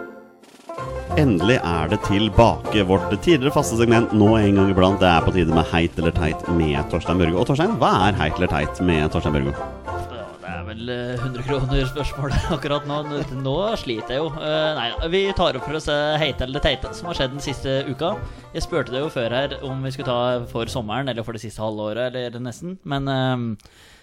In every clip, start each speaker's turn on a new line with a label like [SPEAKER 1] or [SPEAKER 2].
[SPEAKER 1] Endelig er det tilbake vårt tidligere faste segment nå en gang iblant. Det er på tide med Heit eller teit med Torstein Børgo. Og Torstein, hva er Heit eller teit med Torstein Børgo?
[SPEAKER 2] Ja, Det er vel eh, 100 kroner spørsmålet akkurat nå. Nå- Nå sliter jeg jo. Eh, Nei, da, vi tar opp for oss eh, heite eller det teite som har skjedd den siste uka. Jeg spurte deg jo før her om vi skulle ta for sommeren eller for det siste halvåret eller nesten. Men eh,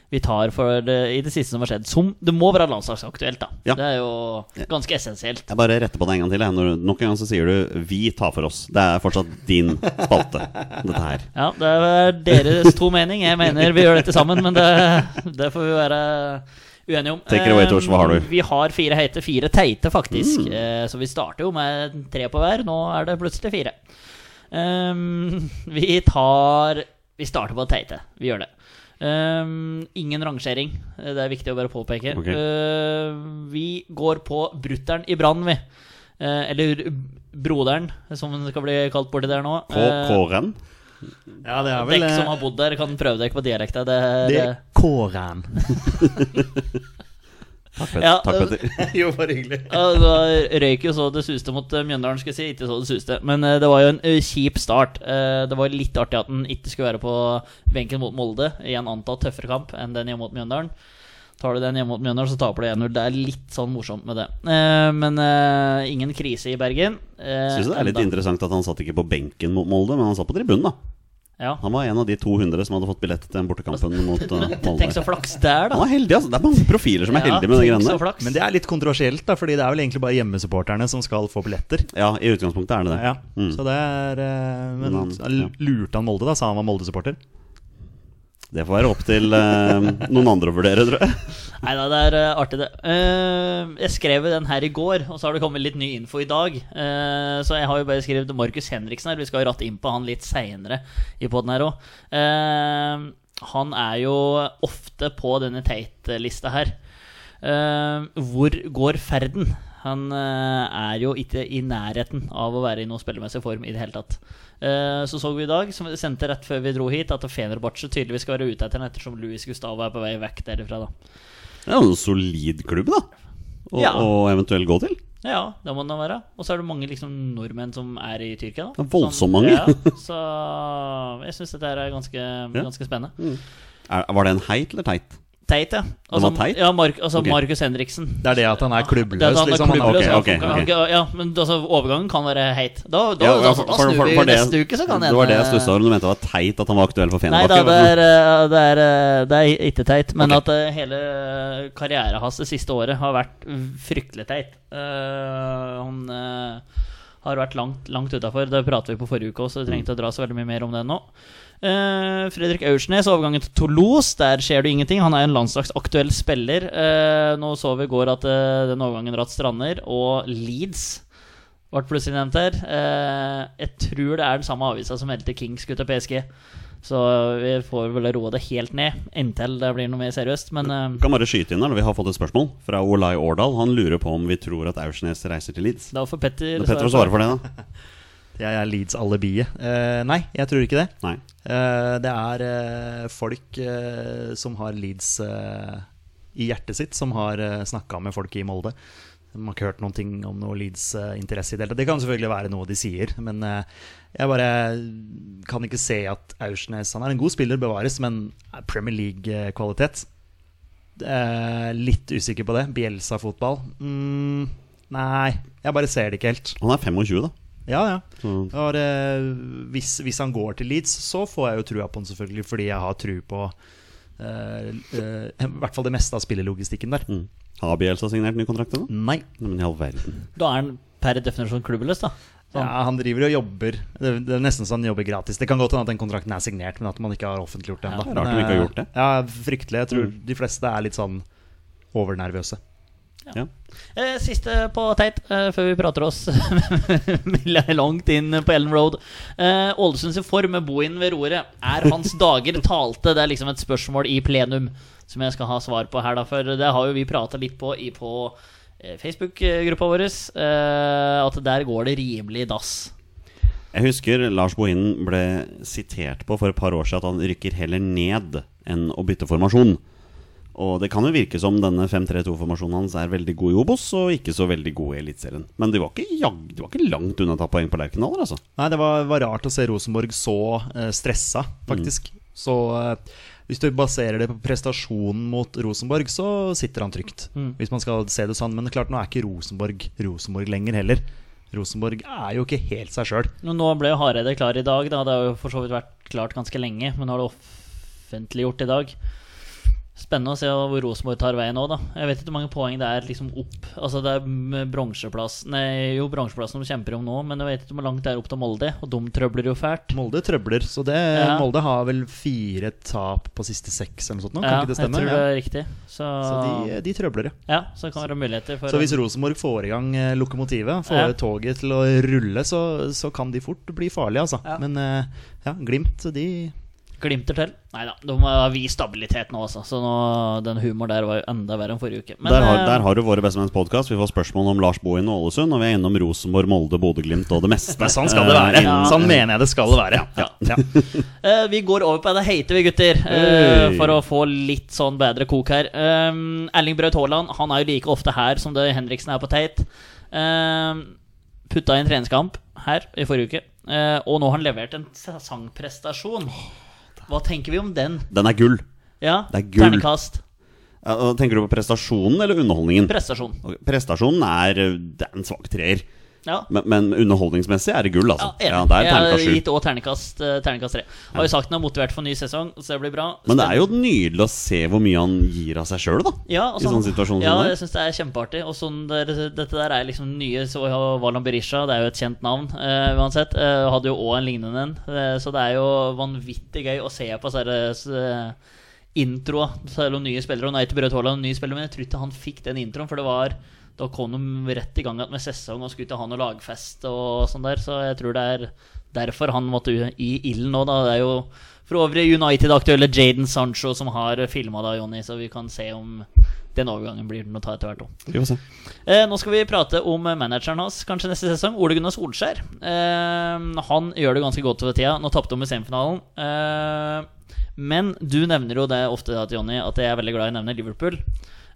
[SPEAKER 2] vi tar for det i det siste som har skjedd. Som det må være landslagsaktuelt, da.
[SPEAKER 1] Ja.
[SPEAKER 2] Det er jo ganske essensielt.
[SPEAKER 1] Jeg bare retter på deg en gang til. Jeg. Når, nok en gang så sier du 'vi tar for oss'. Det er fortsatt din spalte, dette her.
[SPEAKER 2] Ja, det er deres to mening. Jeg mener vi gjør dette sammen, men det, det får vi være uenige om.
[SPEAKER 1] Take it away, Tors. Hva har du? Mm.
[SPEAKER 2] Eh, Vi har fire heite, fire teite, faktisk. Eh, Så vi starter jo med tre på hver. Nå er det plutselig fire. Ehm, vi tar Vi starter på det teite. Vi gjør det. Ehm, ingen rangering. Eh, Det er viktig å bare påpeke.
[SPEAKER 1] Ok.
[SPEAKER 2] Ehm, vi går på brutter'n i brann, vi. Eh, eller broderen, som den skal bli kalt borti der nå.
[SPEAKER 1] K
[SPEAKER 2] Eh,
[SPEAKER 1] Kåren.
[SPEAKER 3] Ja, det er vel
[SPEAKER 2] Dekk som
[SPEAKER 3] eh,
[SPEAKER 2] har bodd der, kan prøve dere på dialekta. Det,
[SPEAKER 3] det
[SPEAKER 2] det,
[SPEAKER 3] er Kåren.
[SPEAKER 1] Takk, Petter.
[SPEAKER 2] Ja,
[SPEAKER 1] Takk,
[SPEAKER 2] øh,
[SPEAKER 1] Petter.
[SPEAKER 3] jo, bare hyggelig.
[SPEAKER 2] ja, det røyk jo så det suste mot eh, Mjøndalen, skal jeg si. Ikke så det suste. Men eh, det var jo en eh, kjip start. Eh, Det var litt artig at den ikke skulle være på benken mot Molde i en antatt tøffere kamp enn den hjemme mot Mjøndalen. Tar du den hjemme mot Mjøndalen, så taper du 1-0. Det er litt sånn morsomt med det. Eh, Men eh, ingen krise i Bergen. Eh,
[SPEAKER 1] Syns det er litt interessant at han satt ikke på benken mot Molde, men han satt på tribunen, da.
[SPEAKER 2] Ja.
[SPEAKER 1] Han var en av de 200 som hadde fått billett til den bortekampen mot eh,
[SPEAKER 2] Altså, Tenk så
[SPEAKER 1] Molde.
[SPEAKER 2] flaks der,
[SPEAKER 1] Han
[SPEAKER 2] da.
[SPEAKER 1] er heldig, altså. Det er mange profiler som er heldige med de
[SPEAKER 2] tenk
[SPEAKER 1] greiene
[SPEAKER 2] så
[SPEAKER 1] der.
[SPEAKER 2] flaks.
[SPEAKER 3] Men det er litt kontroversielt, da, fordi det er vel egentlig bare hjemmesupporterne som skal få billetter.
[SPEAKER 1] Ja, i utgangspunktet er det det.
[SPEAKER 3] Ja,
[SPEAKER 1] Mm.
[SPEAKER 3] Så det er eh, Men
[SPEAKER 1] Men han-
[SPEAKER 3] så l- lurte han Molde, da? Sa han var Molde-supporter?
[SPEAKER 1] Det får være opp til eh, noen andre å vurdere, tror jeg.
[SPEAKER 2] Nei da, det er eh, artig, det. Eh, jeg skrev jo den her i går, og så har det kommet litt ny info i dag. Eh, så jeg har jo bare skrevet Markus Henriksen her. Vi skal jo ratte inn på han litt seinere i poden her òg. han er jo ofte på denne Tate-lista her. Eh, hvor går ferden? Han eh, er jo ikke i nærheten av å være i noen spillemessig form i det hele tatt. Eh, så så vi i dag, som vi sendte rett før vi dro hit, at Fenerbahçe tydeligvis skal være ute etter han ettersom Luis Gustavo er på vei vekk derifra, da.
[SPEAKER 1] Det er jo en solid klubb, da. Å
[SPEAKER 2] Ja.
[SPEAKER 1] å eventuelt gå til.
[SPEAKER 2] Ja, det må den da være. Og så er det mange liksom, nordmenn som er i Tyrkia.
[SPEAKER 1] Det
[SPEAKER 2] da
[SPEAKER 1] er voldsomt
[SPEAKER 2] Som-
[SPEAKER 1] mange.
[SPEAKER 2] Ja, så jeg syns dette her er ganske, ganske spennende.
[SPEAKER 1] Er, var det en heit eller teit?
[SPEAKER 2] Teit, ja. Altså,
[SPEAKER 1] var teit?
[SPEAKER 2] Ja, Mark, altså
[SPEAKER 1] Ok.
[SPEAKER 2] Markus Henriksen.
[SPEAKER 3] Det er det at han er klubbløs,
[SPEAKER 2] Det er da han er
[SPEAKER 3] liksom. Han
[SPEAKER 2] klubbløs,
[SPEAKER 1] ok,
[SPEAKER 2] ja,
[SPEAKER 1] ok,
[SPEAKER 2] folk kan- Ja, men altså, overgangen kan være heit. Da, da,
[SPEAKER 1] Ja, ja,
[SPEAKER 2] altså, da snur vi neste uke, så kan eh,
[SPEAKER 1] det var det jeg stussa over. Du mente det var teit at han var aktuell for
[SPEAKER 2] Nei da,
[SPEAKER 1] Fenerbahçe?
[SPEAKER 2] det er, eh, det er, eh, det er ikke teit. Men
[SPEAKER 1] Ok.
[SPEAKER 2] at eh, hele eh, karrieren hans det siste året har vært fryktelig teit. Eh, han eh, har vært langt, langt utafor. Det pratet vi på forrige uke òg, så vi trengte å dra så veldig mye mer om det nå. Eh, Fredrik Aursnes, overgangen til Toulouse, der skjer det ingenting. Han er en landslagsaktuell spiller. Eh, nå så vi i går at eh, den overgangen ratt strander, og Leeds ble plutselig nevnt her. Eh, jeg tror det er den samme avisa som meldte Kings ut av PSG. Så vi får vel roe det helt ned inntil det blir noe mer seriøst. Men eh,
[SPEAKER 1] Kan bare skyte inn her, Vi har fått et spørsmål fra Olai Årdal. Han lurer på om vi tror at Aursnes reiser til Leeds.
[SPEAKER 2] da får Petter
[SPEAKER 1] Når Petter svarer for det, da.
[SPEAKER 3] Jeg er Leeds-alibiet. Eh, nei, jeg tror ikke det.
[SPEAKER 1] Nei.
[SPEAKER 3] Eh, det er eh, folk eh, som har Leeds eh, i hjertet sitt, som har eh, snakka med folk i Molde. De har ikke hørt noen ting om noe Leeds-interesse i det hele tatt. Det kan selvfølgelig være noe de sier, men eh, jeg bare kan ikke se at Aursnes Han er en god spiller, bevares, men er Premier League-kvalitet Eh, Litt usikker på det. Bjelsa-fotball mm, Nei, jeg bare ser det ikke helt.
[SPEAKER 1] Han er 25, da.
[SPEAKER 3] Ja, ja.
[SPEAKER 1] Så-
[SPEAKER 3] Det var, eh, hvis, hvis han går til Leeds, så får jeg jo trua på han, selvfølgelig, fordi jeg har tru på eh, eh, i hvert fall det meste av spillelogistikken der.
[SPEAKER 1] Mm. Har Bielsa signert ny kontrakt ennå?
[SPEAKER 3] Nei.
[SPEAKER 1] Nei, Men i all verden.
[SPEAKER 2] Da er han per definisjon klubbeløs, da.
[SPEAKER 3] Ja, han driver og jobber. Det, det er nesten så han jobber gratis. Det kan godt hende at den kontrakten er signert, men at man ikke har offentliggjort den.
[SPEAKER 2] Ja,
[SPEAKER 3] da.
[SPEAKER 1] det er rart de ikke har gjort det. Mm.
[SPEAKER 3] eh, Ja, Fryktelig. Jeg tror de fleste er litt sånn overnervøse.
[SPEAKER 1] Ja.
[SPEAKER 2] Eh, Siste på teit, eh, før vi prater oss langt inn på Ellen Road. Eh, Ålesunds form med Bohin ved roret. Er hans dager talte? Det er liksom et spørsmål i plenum som jeg skal ha svar på her, da. For det har jo vi prata litt på i på eh, Facebook-gruppa vår, eh, at der går det rimelig i dass.
[SPEAKER 1] Jeg husker Lars Bohinen ble sitert på for et par år siden at han rykker heller ned enn å bytte formasjon. Og det kan jo virke som denne 5-3-2-formasjonen hans er veldig god i Obos, og ikke så veldig god i Eliteserien. Men de var ikke, jag- de var ikke langt unna å ta poeng på Lerkendal, altså.
[SPEAKER 3] Nei, det var, var rart å se Rosenborg så eh, stressa, faktisk.
[SPEAKER 2] Mm.
[SPEAKER 3] Så eh, hvis du baserer det på prestasjonen mot Rosenborg, så sitter han trygt.
[SPEAKER 2] Mm.
[SPEAKER 3] Hvis man skal se det sånn. Men klart, nå er ikke Rosenborg Rosenborg lenger heller. Rosenborg er jo ikke helt seg sjøl.
[SPEAKER 2] Men Nå ble jo Hareide klar i dag, da. Det har jo for så vidt vært klart ganske lenge, men nå er det offentliggjort i dag. Spennende å se hvor Rosenborg tar veien nå, da. Jeg vet ikke hvor mange poeng det er liksom opp. Altså Det er m- bronseplass Nei, jo bronseplassen de kjemper om nå, men jeg vet ikke hvor langt det er opp til Molde. Og de trøbler jo fælt.
[SPEAKER 3] Molde trøbler, så det,
[SPEAKER 2] Ja.
[SPEAKER 3] Molde har vel fire tap på siste seks eller noe sånt. nå, Kan
[SPEAKER 2] Ja,
[SPEAKER 3] ikke det
[SPEAKER 2] jeg
[SPEAKER 3] stemme?
[SPEAKER 2] tror det
[SPEAKER 3] Ja.
[SPEAKER 2] er riktig. Så,
[SPEAKER 3] Så de, de trøbler, ja.
[SPEAKER 2] ja, så kan det være muligheter for
[SPEAKER 3] Så hvis Rosenborg får i gang eh, lokomotivet, får
[SPEAKER 2] Ja.
[SPEAKER 3] toget til å rulle, så, så kan de fort bli farlige, altså.
[SPEAKER 2] Ja.
[SPEAKER 3] Men eh, ja, Glimt, de
[SPEAKER 2] Glimter til. Nei da, de har vist stabilitet nå, altså. Så nå, den humoren der var jo enda verre enn forrige uke. Men,
[SPEAKER 1] der, har,
[SPEAKER 2] eh,
[SPEAKER 1] der har du våre Bestemenns podkast. Vi får spørsmål om Lars Bohin og Ålesund, og vi er innom Rosenborg, Molde, Bodø, Glimt og det meste.
[SPEAKER 3] Men sånn skal det være.
[SPEAKER 1] Eh, innen-
[SPEAKER 3] Sånn mener jeg det skal være.
[SPEAKER 2] Ja. Eh, vi går over på det heite, vi gutter. eh,
[SPEAKER 1] Hey.
[SPEAKER 2] for å få litt sånn bedre kok her. Um, Erling Braut Haaland han er jo like ofte her som det Henriksen er på Tate. Um, putta i en treningskamp her i forrige uke, eh, og nå har han levert en sesongprestasjon. Hva tenker vi om den?
[SPEAKER 1] Eh, Den er gull.
[SPEAKER 2] Ja,
[SPEAKER 1] Det er gull.
[SPEAKER 2] Ternekast.
[SPEAKER 1] Ja, og Tenker du på prestasjonen eller underholdningen?
[SPEAKER 2] Prestasjon.
[SPEAKER 1] Ok, Prestasjonen er, eh, det er en svak treer.
[SPEAKER 2] Ja.
[SPEAKER 1] Men, men underholdningsmessig er det gull, altså.
[SPEAKER 2] enig.
[SPEAKER 1] Ja, det er terningkast
[SPEAKER 2] Jeg har
[SPEAKER 1] sju.
[SPEAKER 2] gitt òg terningkast, eh, terningkast tre. Har jo sagt han er motivert for ny sesong, så det blir bra.
[SPEAKER 1] Men det er jo nydelig å se hvor mye han gir av seg sjøl, da.
[SPEAKER 2] Ja, og sånn-
[SPEAKER 1] I sånne situasjoner
[SPEAKER 2] ja
[SPEAKER 1] som altså, det.
[SPEAKER 2] jeg syns det er kjempeartig. Og sånn der, dette der er liksom nye så ja, Valan Berisha, det er jo et kjent navn eh, uansett. eh, hadde jo òg en lignende en. Eh, så det er jo vanvittig gøy å se på disse uh, introa til noen nye spillere. Og nei til Braut Haaland, nye spillere, men jeg tror ikke han fikk den introen, for det var da kom de rett i gang igjen med sesong og skulle ikke ha noe lagfest og sånn der. Så jeg tror det er derfor han måtte u- i ilden nå, da. Det er jo for øvrig United-aktuelle Jaden Sancho som har filma da, Jonny, så vi kan se om den overgangen blir den å ta etter hvert òg.
[SPEAKER 1] Vi får se.
[SPEAKER 2] Eh, nå skal vi prate om manageren hans kanskje neste sesong, Ole Gunnar Solskjær. Eh, han gjør det ganske godt over tida. Nå tapte de i semifinalen. Eh, men du nevner jo det ofte, at, Jonny, at jeg er veldig glad i å nevne Liverpool.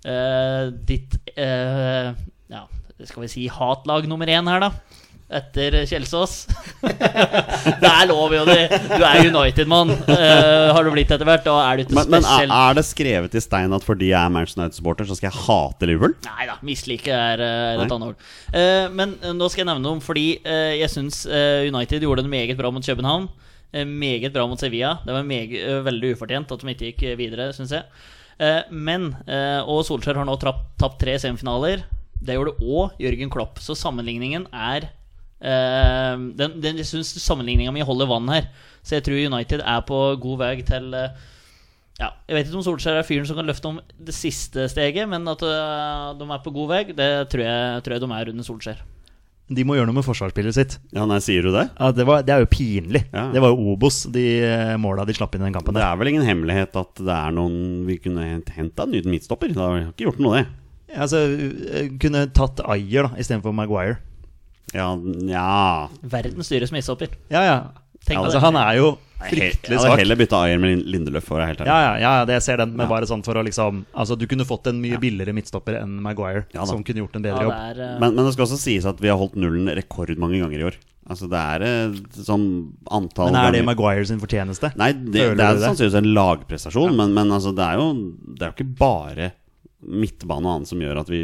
[SPEAKER 2] Eh, ditt eh, ja, skal vi si hatlag nummer én her, da. Etter Kjelsås. det er lov, Jonny! Du er United-mann, eh, har du blitt etter hvert. Da er du ikke
[SPEAKER 1] Men, men er,
[SPEAKER 2] spesiell.
[SPEAKER 1] er det skrevet i stein at fordi jeg er Manchester United-supporter, så skal jeg hate Liverpool?
[SPEAKER 2] Nei da, mislike er eh, er et
[SPEAKER 1] Nei.
[SPEAKER 2] annet ord. Eh, men eh, nå skal jeg nevne noe, fordi eh, jeg syns United gjorde det meget bra mot København. eh, meget bra mot Sevilla. Det var meg, eh, veldig ufortjent at de ikke gikk eh, videre, syns jeg. Eh, men eh, Og Solskjær har nå trapp- tapt tre semifinaler. Det gjorde òg Jørgen Klopp, så sammenligningen er eh, den, den, Jeg syns sammenligninga mi holder vann her, så jeg tror United er på god vei til eh, ja, Jeg vet ikke om Solskjær er fyren som kan løfte om det siste steget, men at øh, de er på god vei, det tror jeg, tror jeg de er under Solskjær.
[SPEAKER 3] De må gjøre noe med forsvarsspillet sitt.
[SPEAKER 1] Ja, nei, sier du det?
[SPEAKER 3] Ja, det, var, det er jo pinlig.
[SPEAKER 1] Ja.
[SPEAKER 3] Det var jo Obos, de eh, måla de slapp inn i den kampen.
[SPEAKER 1] Det
[SPEAKER 3] Der.
[SPEAKER 1] er vel ingen hemmelighet at det er noen vi kunne henta en ny midtstopper. Det har ikke gjort noe, det.
[SPEAKER 3] Altså, eh, kunne tatt Ayer da, istedenfor Maguire.
[SPEAKER 1] Ja, nja
[SPEAKER 2] Verden styres med ishopper.
[SPEAKER 3] Ja, ja.
[SPEAKER 2] Tenk på
[SPEAKER 3] altså,
[SPEAKER 2] det.
[SPEAKER 3] han er jo
[SPEAKER 1] Jeg
[SPEAKER 3] fryktelig
[SPEAKER 1] hadde
[SPEAKER 3] svak.
[SPEAKER 1] heller bytta Ayer med Lin- Lindeløf, for å være helt ærlig.
[SPEAKER 3] Ja, ja, ja, det jeg ser den, men bare sånn for å liksom Altså, du kunne fått en mye billigere midtstopper enn Maguire,
[SPEAKER 1] Ja da.
[SPEAKER 3] som kunne gjort en
[SPEAKER 2] Ja,
[SPEAKER 3] bedre
[SPEAKER 2] det
[SPEAKER 3] jobb.
[SPEAKER 2] er, øh,
[SPEAKER 1] Men, men det skal også sies at vi har holdt nullen rekordmange ganger i år. Altså Det er eh, sånn antall
[SPEAKER 3] Men er det
[SPEAKER 1] ganger-
[SPEAKER 3] Maguire sin fortjeneste?
[SPEAKER 1] Nei, det,
[SPEAKER 3] Føler
[SPEAKER 1] det er
[SPEAKER 3] du det?
[SPEAKER 1] sannsynligvis en lagprestasjon, men, men altså, det er jo Det er jo ikke bare midtbane og annet som gjør at vi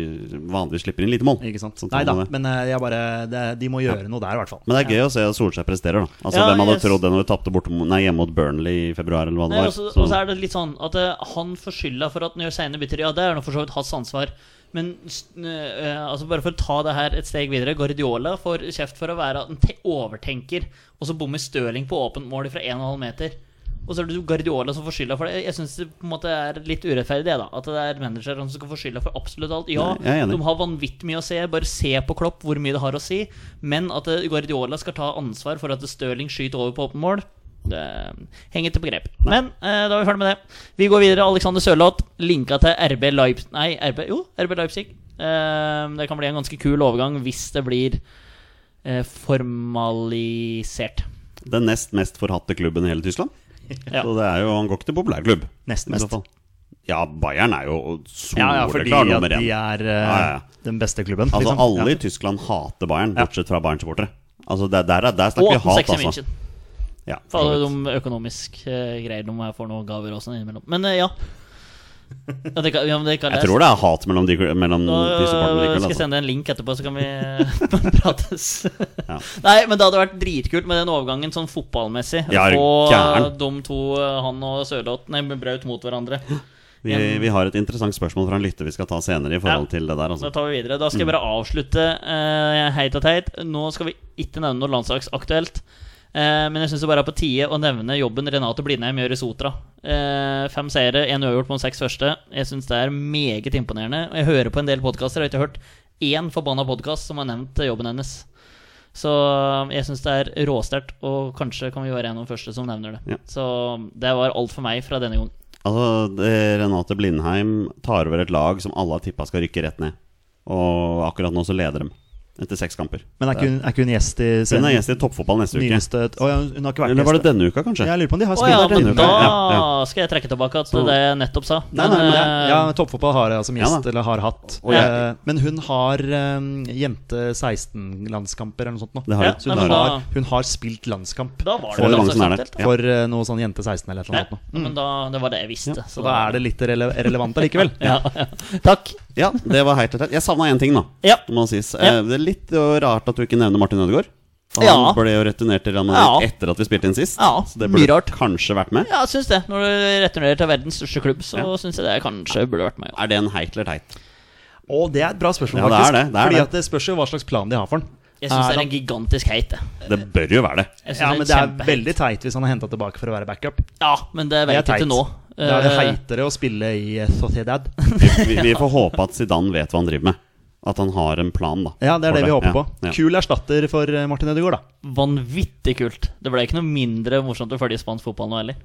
[SPEAKER 1] vanligvis slipper inn lite mål.
[SPEAKER 3] Ikke sant?
[SPEAKER 1] Sånn
[SPEAKER 3] Nei da,
[SPEAKER 1] som det.
[SPEAKER 3] men eh, jeg bare det, De må gjøre noe der, i hvert fall.
[SPEAKER 1] Men det er gøy å se at Solskjær presterer, da. Altså
[SPEAKER 2] Ja,
[SPEAKER 1] Hvem hadde
[SPEAKER 2] yes.
[SPEAKER 1] trodd det når vi tapte borte mot- nei, hjemme mot Burnley i februar, eller hva det
[SPEAKER 2] Nei,
[SPEAKER 1] var?
[SPEAKER 2] og så
[SPEAKER 1] Så-
[SPEAKER 2] og så er det litt sånn at eh, han får skylda for at han gjør seine bytter. Ja, det er nå for så vidt hans ansvar. Men s- eh, eh, altså bare for å ta det her et steg videre Guardiola får kjeft for å være at han te- overtenker, og så bommer Støling på åpent mål fra 1,5 meter. Og så er det jo Guardiola som får skylda for det. Jeg syns det på en måte er litt urettferdig, det, da. At det er manageren som skal få skylda for absolutt alt. Ja,
[SPEAKER 1] Nei, jeg er enig.
[SPEAKER 2] de har vanvittig mye å se. Bare se på Klopp hvor mye det har å si. Men at eh, Guardiola skal ta ansvar for at Stirling skyter over på åpent mål, det henger ikke på grep. Men eh, da er vi ferdig med det. Vi går videre. Alexander Sørloth linka til RB Leipzig Nei, RB, jo, RB Leipzig. Eh, det kan bli en ganske kul overgang hvis det blir eh, formalisert.
[SPEAKER 1] Den nest mest forhatte klubben i hele Tyskland.
[SPEAKER 2] Ja.
[SPEAKER 1] Så det er jo, han går ikke til populærklubb.
[SPEAKER 3] Nest
[SPEAKER 1] i
[SPEAKER 3] mest.
[SPEAKER 1] så fall. Ja, Bayern er jo
[SPEAKER 3] Ja, ja, fordi
[SPEAKER 1] soleklar
[SPEAKER 3] at
[SPEAKER 1] nummer
[SPEAKER 3] de
[SPEAKER 1] én.
[SPEAKER 3] er eh,
[SPEAKER 1] Ja, ja.
[SPEAKER 3] den beste klubben.
[SPEAKER 1] Altså,
[SPEAKER 3] liksom.
[SPEAKER 1] alle
[SPEAKER 3] Ja.
[SPEAKER 1] i Tyskland hater Bayern,
[SPEAKER 3] Ja.
[SPEAKER 1] bortsett fra Bayern-supportere. Altså, der, der, er- der
[SPEAKER 2] Og
[SPEAKER 1] snakker vi hat,
[SPEAKER 2] 18-6 i
[SPEAKER 1] altså.
[SPEAKER 2] München.
[SPEAKER 1] Ja, for
[SPEAKER 2] For
[SPEAKER 1] så
[SPEAKER 2] alle
[SPEAKER 1] vidt.
[SPEAKER 2] de økonomiske eh, greier de her får noen gaver og sånn innimellom. Men eh, ja. ja, det kan, ja men det kan
[SPEAKER 1] jeg tror det er hat mellom de, mellom
[SPEAKER 2] Da
[SPEAKER 1] de supporterne
[SPEAKER 2] skal
[SPEAKER 1] likevel.
[SPEAKER 2] øh, jeg
[SPEAKER 1] Altså.
[SPEAKER 2] sende deg en link etterpå, så kan vi prates.
[SPEAKER 1] Ja.
[SPEAKER 2] Nei, men det hadde vært dritkult med den overgangen sånn fotballmessig.
[SPEAKER 1] Ja, er du
[SPEAKER 2] Få øh,
[SPEAKER 1] gæren?
[SPEAKER 2] de to, han og Sørloth, nei, Braut mot hverandre.
[SPEAKER 1] Vi, vi har et interessant spørsmål fra en lytter vi skal ta senere. i forhold til det der
[SPEAKER 2] Da
[SPEAKER 1] altså.
[SPEAKER 2] tar vi videre. Da skal jeg bare avslutte eh, heit og teit. Nå skal vi ikke nevne noe landslagsaktuelt. Eh, men jeg syns det bare er på tide å nevne jobben Renate Blindheim gjør i Sotra. Eh, fem seire, én uavgjort på de seks første. Jeg syns det er meget imponerende. Og jeg hører på en del podkaster, og jeg har ikke hørt én forbanna podkast som har nevnt eh, jobben hennes. Så eh, jeg syns det er råsterkt, og kanskje kan vi være en av de første som nevner det.
[SPEAKER 1] Ja.
[SPEAKER 2] Så det var alt for meg fra denne gangen.
[SPEAKER 1] Altså, det, Renate Blindheim tar over et lag som alle har tippa skal rykke rett ned. Og akkurat nå så leder dem etter seks kamper.
[SPEAKER 3] Men er ikke, hun, er ikke hun gjest i
[SPEAKER 1] Hun
[SPEAKER 3] serien?
[SPEAKER 1] er gjest i toppfotball neste uke.
[SPEAKER 3] Nyeste Å ja, hun har ikke vært
[SPEAKER 1] Eller var det
[SPEAKER 3] gjest.
[SPEAKER 1] denne uka, kanskje?
[SPEAKER 3] Jeg lurer på om de har
[SPEAKER 2] Å ja,
[SPEAKER 3] spilt
[SPEAKER 1] denne
[SPEAKER 2] men
[SPEAKER 1] uka,
[SPEAKER 2] da
[SPEAKER 1] ja, ja.
[SPEAKER 2] skal jeg trekke tilbake at
[SPEAKER 1] Så-
[SPEAKER 2] det jeg nettopp sa.
[SPEAKER 3] Nei, nei, men,
[SPEAKER 2] eh,
[SPEAKER 3] ja, Toppfotball har jeg altså, som
[SPEAKER 1] Ja,
[SPEAKER 3] gjest,
[SPEAKER 1] da.
[SPEAKER 3] eller har hatt.
[SPEAKER 1] Og jeg-
[SPEAKER 3] Eh, Men hun har eh, jente 16-landskamper eller noe sånt nå.
[SPEAKER 1] Det har
[SPEAKER 2] Ja,
[SPEAKER 1] hun.
[SPEAKER 2] nei,
[SPEAKER 1] det
[SPEAKER 2] men
[SPEAKER 1] har hun.
[SPEAKER 2] da-
[SPEAKER 3] Har, hun har spilt landskamp
[SPEAKER 2] Da var
[SPEAKER 1] Så
[SPEAKER 2] det
[SPEAKER 1] det er mange som er der.
[SPEAKER 2] landslagsaktuelt.
[SPEAKER 3] for eh, noe sånn jente 16 eller et eller
[SPEAKER 2] Ja,
[SPEAKER 3] annet. nå.
[SPEAKER 2] men da, det var det jeg visste.
[SPEAKER 3] Så da er det litt rele relevant allikevel.
[SPEAKER 2] ja, ja. Takk.
[SPEAKER 1] Ja, det var helt rett. Jeg savna én ting, da.
[SPEAKER 2] Ja.
[SPEAKER 1] Det må sies.
[SPEAKER 2] Ja.
[SPEAKER 1] Eh, Det er litt eh, rart at du ikke nevner Martin Ødegaard. For han
[SPEAKER 2] Ja.
[SPEAKER 1] ble jo returnert til Real Madrid
[SPEAKER 2] Ja.
[SPEAKER 1] etter at vi spilte inn sist.
[SPEAKER 2] Ja,
[SPEAKER 1] Så det
[SPEAKER 2] mye
[SPEAKER 1] burde
[SPEAKER 2] rart.
[SPEAKER 1] kanskje vært med.
[SPEAKER 2] Ja, jeg syns det. Når du returnerer til verdens største klubb, så
[SPEAKER 1] Ja.
[SPEAKER 2] synes syns jeg det kanskje burde vært meg.
[SPEAKER 1] Er det en heit eller teit?
[SPEAKER 3] Å, det er et bra spørsmål,
[SPEAKER 1] Ja, det er
[SPEAKER 3] faktisk.
[SPEAKER 1] det, det er
[SPEAKER 3] Fordi
[SPEAKER 1] det.
[SPEAKER 3] at det spørs jo hva slags plan de har for den.
[SPEAKER 2] Jeg syns
[SPEAKER 3] Er
[SPEAKER 2] det er
[SPEAKER 3] han-
[SPEAKER 2] en gigantisk hate. jeg.
[SPEAKER 1] Det bør jo være det.
[SPEAKER 2] Jeg synes
[SPEAKER 3] Ja, men det
[SPEAKER 2] en
[SPEAKER 3] er
[SPEAKER 2] kjempe-
[SPEAKER 3] veldig teit hvis han er henta tilbake for å være backup.
[SPEAKER 2] Ja, men det
[SPEAKER 3] Det
[SPEAKER 2] vet
[SPEAKER 3] er
[SPEAKER 2] jeg
[SPEAKER 3] teit.
[SPEAKER 2] ikke nå.
[SPEAKER 3] Da er det
[SPEAKER 2] Eh,
[SPEAKER 3] heitere å spille i eh, Sociedad.
[SPEAKER 1] Vi, vi får håpe at Zidane vet hva han driver med. At han har en plan, da.
[SPEAKER 3] Ja, det er
[SPEAKER 1] for
[SPEAKER 3] det vi håper
[SPEAKER 1] Ja,
[SPEAKER 3] på.
[SPEAKER 1] ja.
[SPEAKER 3] Kul erstatter for eh, Martin Ødegaard, da.
[SPEAKER 2] Vanvittig kult. Det ble ikke noe mindre morsomt å følge spansk fotball nå heller.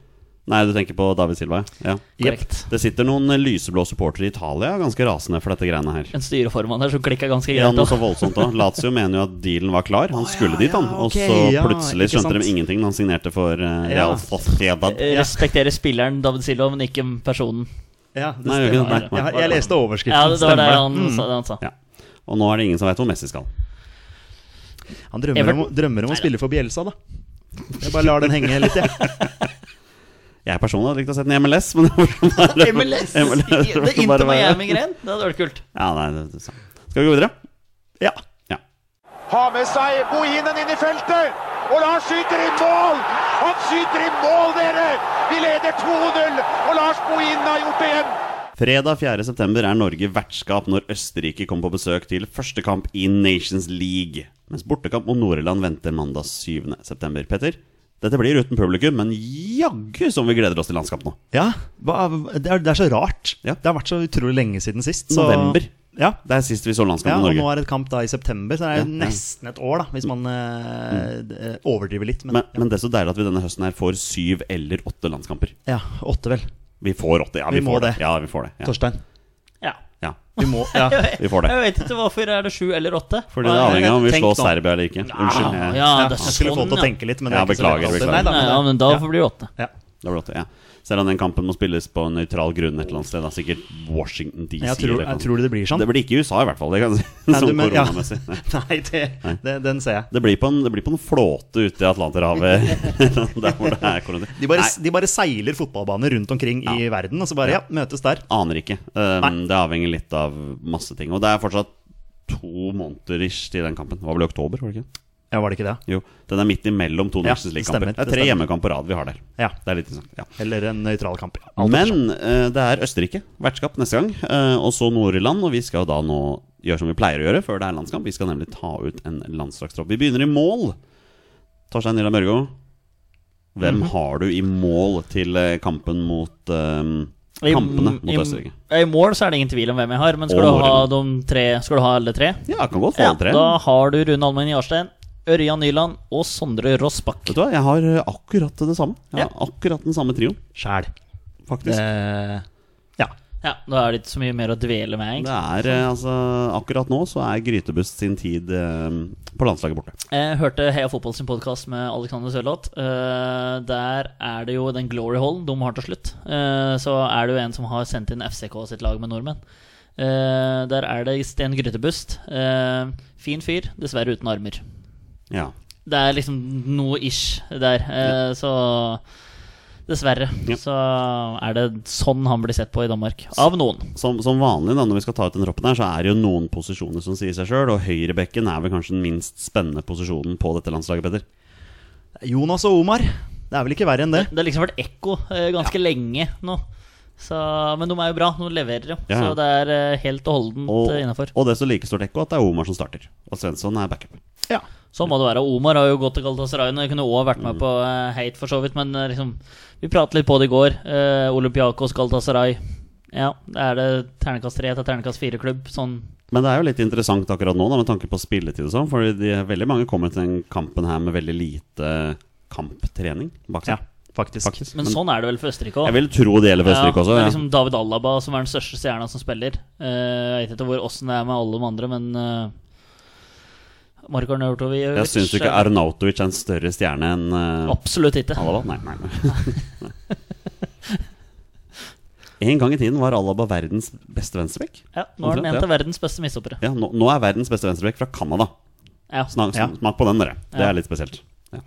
[SPEAKER 1] Nei, du tenker på David Silva, ja. ja.
[SPEAKER 2] Korrekt.
[SPEAKER 1] Det sitter noen eh, lyseblå supportere i Italia ganske rasende for dette greiene her.
[SPEAKER 2] En styreformann her som klikka ganske
[SPEAKER 1] Ja,
[SPEAKER 2] greit.
[SPEAKER 1] noe så
[SPEAKER 2] også.
[SPEAKER 1] voldsomt også. Lazio mener jo at dealen var klar. Han skulle dit, han.
[SPEAKER 3] ja,
[SPEAKER 1] Og
[SPEAKER 3] ok,
[SPEAKER 1] så
[SPEAKER 3] ja,
[SPEAKER 1] plutselig
[SPEAKER 3] ikke
[SPEAKER 1] skjønte de
[SPEAKER 3] sant.
[SPEAKER 1] ingenting da han signerte for eh,
[SPEAKER 3] Ja.
[SPEAKER 1] Real Sociedad.
[SPEAKER 2] Eh,
[SPEAKER 3] Ja.
[SPEAKER 2] Respektere spilleren David Silva, men ikke personen.
[SPEAKER 3] Ja, det
[SPEAKER 1] Nei, jeg gjør ikke
[SPEAKER 3] stemmer.
[SPEAKER 1] det. Nei, nei.
[SPEAKER 3] Jeg, jeg leste overskriften.
[SPEAKER 2] Ja, det var det
[SPEAKER 3] stemmer Mm.
[SPEAKER 2] han, sa, det han sa.
[SPEAKER 1] Ja. Og nå er det ingen som veit hvor Messi skal.
[SPEAKER 3] Han drømmer om, drømmer om å spille for Bjelsa, da. Jeg bare lar den henge litt, jeg.
[SPEAKER 1] Jeg personlig hadde likt å sett en i MLS, men det får bare
[SPEAKER 2] MLS!
[SPEAKER 1] MLS,
[SPEAKER 2] Det er
[SPEAKER 1] bare
[SPEAKER 2] Inter
[SPEAKER 1] være-
[SPEAKER 2] Miami-greien. Det hadde vært kult.
[SPEAKER 1] Ja, nei, det, det, sant. Skal vi gå videre?
[SPEAKER 3] Ja.
[SPEAKER 1] Ja.
[SPEAKER 4] Har med seg Bohinen inn i feltet! Og Lars skyter i mål! Han skyter i mål, dere! Vi leder 2-0, og Lars Bohinen har gjort det igjen!
[SPEAKER 1] Fredag 4. september er Norge vertskap når Østerrike kommer på besøk til første kamp i Nations League. Mens bortekamp mot Nord-Irland venter mandag 7. september. Petter, dette blir uten publikum, men jaggu som vi gleder oss til landskamp nå.
[SPEAKER 3] ja hva, det, er, det er så rart.
[SPEAKER 1] Ja.
[SPEAKER 3] Det har vært så utrolig lenge siden sist. Så,
[SPEAKER 1] November.
[SPEAKER 3] Ja.
[SPEAKER 1] Det er sist vi så landskamp
[SPEAKER 3] Ja,
[SPEAKER 1] med
[SPEAKER 3] og nå
[SPEAKER 1] Norge.
[SPEAKER 3] er det kamp da i september, så det er
[SPEAKER 1] Ja,
[SPEAKER 3] jo
[SPEAKER 1] ja.
[SPEAKER 3] nesten et år, da, hvis man eh, d- eh, overdriver litt. Men,
[SPEAKER 1] Men, men det er så deilig at vi denne høsten her får syv eller åtte landskamper.
[SPEAKER 3] ja, åtte, vel.
[SPEAKER 1] Vi får åtte, ja. Vi,
[SPEAKER 3] Vi må
[SPEAKER 1] får det.
[SPEAKER 3] det.
[SPEAKER 1] Ja, vi får det. Ja.
[SPEAKER 3] Torstein.
[SPEAKER 2] Ja.
[SPEAKER 1] Ja.
[SPEAKER 3] Vi må Ja,
[SPEAKER 1] Vi får det.
[SPEAKER 2] Jeg vet ikke hvorfor er det sju eller åtte.
[SPEAKER 1] Fordi det er avhengig av om vi
[SPEAKER 3] Tenk
[SPEAKER 1] slår
[SPEAKER 3] nå.
[SPEAKER 1] Serbia eller ikke. Unnskyld. eh,
[SPEAKER 2] Ja,
[SPEAKER 1] jeg-
[SPEAKER 2] ja,
[SPEAKER 3] ja
[SPEAKER 2] det er
[SPEAKER 3] jeg skulle få
[SPEAKER 2] sånn,
[SPEAKER 3] til å
[SPEAKER 2] ja.
[SPEAKER 3] tenke litt, men det
[SPEAKER 1] Ja,
[SPEAKER 3] er ikke så lett
[SPEAKER 1] beklager,
[SPEAKER 3] alltid.
[SPEAKER 1] beklager.
[SPEAKER 3] Nei, da,
[SPEAKER 2] Nei,
[SPEAKER 3] men,
[SPEAKER 2] ja, men da
[SPEAKER 3] ja.
[SPEAKER 2] får det bli åtte.
[SPEAKER 3] Ja.
[SPEAKER 1] Det var åtte, ja. Selv om den kampen må spilles på nøytral grunn et eller annet sted. Da. Sikkert Washington DC.
[SPEAKER 3] Men Jeg
[SPEAKER 1] eller et
[SPEAKER 3] tror,
[SPEAKER 1] eller
[SPEAKER 3] jeg
[SPEAKER 1] annet.
[SPEAKER 3] tror det blir sånn.
[SPEAKER 1] Det blir ikke i USA, i hvert fall. Det kan jeg si.
[SPEAKER 3] Nei, du
[SPEAKER 1] Sånn
[SPEAKER 3] men- ja.
[SPEAKER 1] koronamessig. Nei.
[SPEAKER 3] Nei, det, det, den ser jeg.
[SPEAKER 1] Det blir, på en, det blir på en flåte ute i Atlanterhavet. der hvor det er korona.
[SPEAKER 3] De bare, de bare seiler fotballbaner rundt omkring i verden, og så bare ja, møtes der.
[SPEAKER 1] Aner ikke. Um,
[SPEAKER 3] Nei.
[SPEAKER 1] det avhenger litt av masse ting. Og det er fortsatt to måneder ish til den kampen. Det var vel i oktober? var det ikke?
[SPEAKER 3] Ja, var det ikke det?
[SPEAKER 1] Jo, Den er midt imellom to
[SPEAKER 3] Ja,
[SPEAKER 1] Nations League-kamper.
[SPEAKER 3] det stemmer,
[SPEAKER 1] Det er
[SPEAKER 3] det
[SPEAKER 1] tre
[SPEAKER 3] stemmer.
[SPEAKER 1] hjemmekamper på rad vi har der.
[SPEAKER 3] Ja.
[SPEAKER 1] Det er litt interessant. ja
[SPEAKER 3] Eller en nøytral kamp. ja. Alt etter
[SPEAKER 1] Men eh, det er Østerrike, vertskap neste gang. eh, og så Nord-Irland. Og vi skal jo da nå gjøre som vi pleier å gjøre før det er landskamp. Vi skal nemlig ta ut en landslagstropp. Vi begynner i mål. Torstein Nilla Mørgo, hvem
[SPEAKER 2] Mhm.
[SPEAKER 1] har du i mål til eh, kampen mot eh, Kampene mot Østerrike?
[SPEAKER 2] I, I mål så er det ingen tvil om hvem jeg har, men skal
[SPEAKER 1] Og
[SPEAKER 2] du ha,
[SPEAKER 1] Norge.
[SPEAKER 2] de tre, skal du ha alle tre?
[SPEAKER 1] Ja, jeg kan godt få
[SPEAKER 2] Ja,
[SPEAKER 1] alle tre.
[SPEAKER 2] da har du Rune Almen Jarstein, Ørjan Nyland og Sondre Rossbakk.
[SPEAKER 1] Vet du hva, jeg har eh, akkurat det samme. Jeg har
[SPEAKER 2] Ja.
[SPEAKER 1] Akkurat den samme trioen,
[SPEAKER 3] sjæl.
[SPEAKER 1] faktisk.
[SPEAKER 3] Eh, ja.
[SPEAKER 2] Ja, Da er det ikke så mye mer å dvele med, egentlig.
[SPEAKER 1] Det er, eh, altså, akkurat nå så er Grytebust sin tid eh, på landslaget borte.
[SPEAKER 2] Jeg hørte Heia Fotball sin podkast med Alexander Sørloth. Eh, der er det jo den glory hallen de har til slutt. Eh, så er det jo en som har sendt inn FCK sitt lag med nordmenn. Eh, der er det Sten Grytebust. Eh, fin fyr, dessverre uten armer.
[SPEAKER 1] Ja.
[SPEAKER 2] Det er liksom noe ish der. Eh, så dessverre
[SPEAKER 1] Ja.
[SPEAKER 2] så er det sånn han blir sett på i Danmark. Av noen.
[SPEAKER 1] Som, som vanlig da, når vi skal ta ut den troppen her, så er det jo noen posisjoner som sier seg sjøl, og høyrebekken er vel kanskje den minst spennende posisjonen på dette landslaget, Petter.
[SPEAKER 3] Jonas og Omar. Det er vel ikke verre enn det.
[SPEAKER 2] Det har liksom vært ekko eh, ganske lenge nå. Så, men de er jo bra. De leverer jo.
[SPEAKER 1] Ja, ja.
[SPEAKER 2] Så det er eh, helt og holdent innafor.
[SPEAKER 1] og desto like stort ekko at det er Omar som starter, og Svensson er backup.
[SPEAKER 3] Ja.
[SPEAKER 2] Sånn må det være. Omar har jo gått til Galatasaray. Jeg kunne også
[SPEAKER 1] Mm.
[SPEAKER 2] vært med på eh, Hate, for så vidt. Men eh, liksom, vi pratet litt på det i går. Eh, Olympiakos, Galatasaray. Ja, er det ternekast tre etter ternekast fire-klubb? Sånn
[SPEAKER 1] Men det er jo litt interessant akkurat nå, da, med tanke på spilletid og sånn, for de, veldig mange kommer til den kampen her med veldig lite kamptrening bak
[SPEAKER 3] ja
[SPEAKER 1] seg.
[SPEAKER 3] faktisk.
[SPEAKER 1] Faktisk.
[SPEAKER 2] Men
[SPEAKER 1] Men
[SPEAKER 2] sånn er det vel for Østerrike òg.
[SPEAKER 1] jeg vil tro det gjelder for Østerrike også.
[SPEAKER 2] det er
[SPEAKER 1] Ja.
[SPEAKER 2] liksom David Alaba som er den største stjerna som spiller. Eh, jeg vet ikke hvor åssen det er med alle de andre, men uh, Marko Arnautovic
[SPEAKER 1] Jeg syns ikke Arnautovic er en større stjerne enn eh,
[SPEAKER 2] Absolutt ikke.
[SPEAKER 1] Alaba. Nei, nei, nei. En gang i tiden var Alaba verdens beste venstrebekk.
[SPEAKER 2] Ja, nå er han
[SPEAKER 1] Omtrent, ja.
[SPEAKER 2] en av verdens beste mishoppere.
[SPEAKER 1] Ja, nå, nå er verdens beste venstrebekk fra Canada.
[SPEAKER 2] Ja.
[SPEAKER 1] Snak,
[SPEAKER 3] Ja.
[SPEAKER 1] Smak på den, dere. Det
[SPEAKER 2] Ja.
[SPEAKER 1] er litt spesielt. Ja,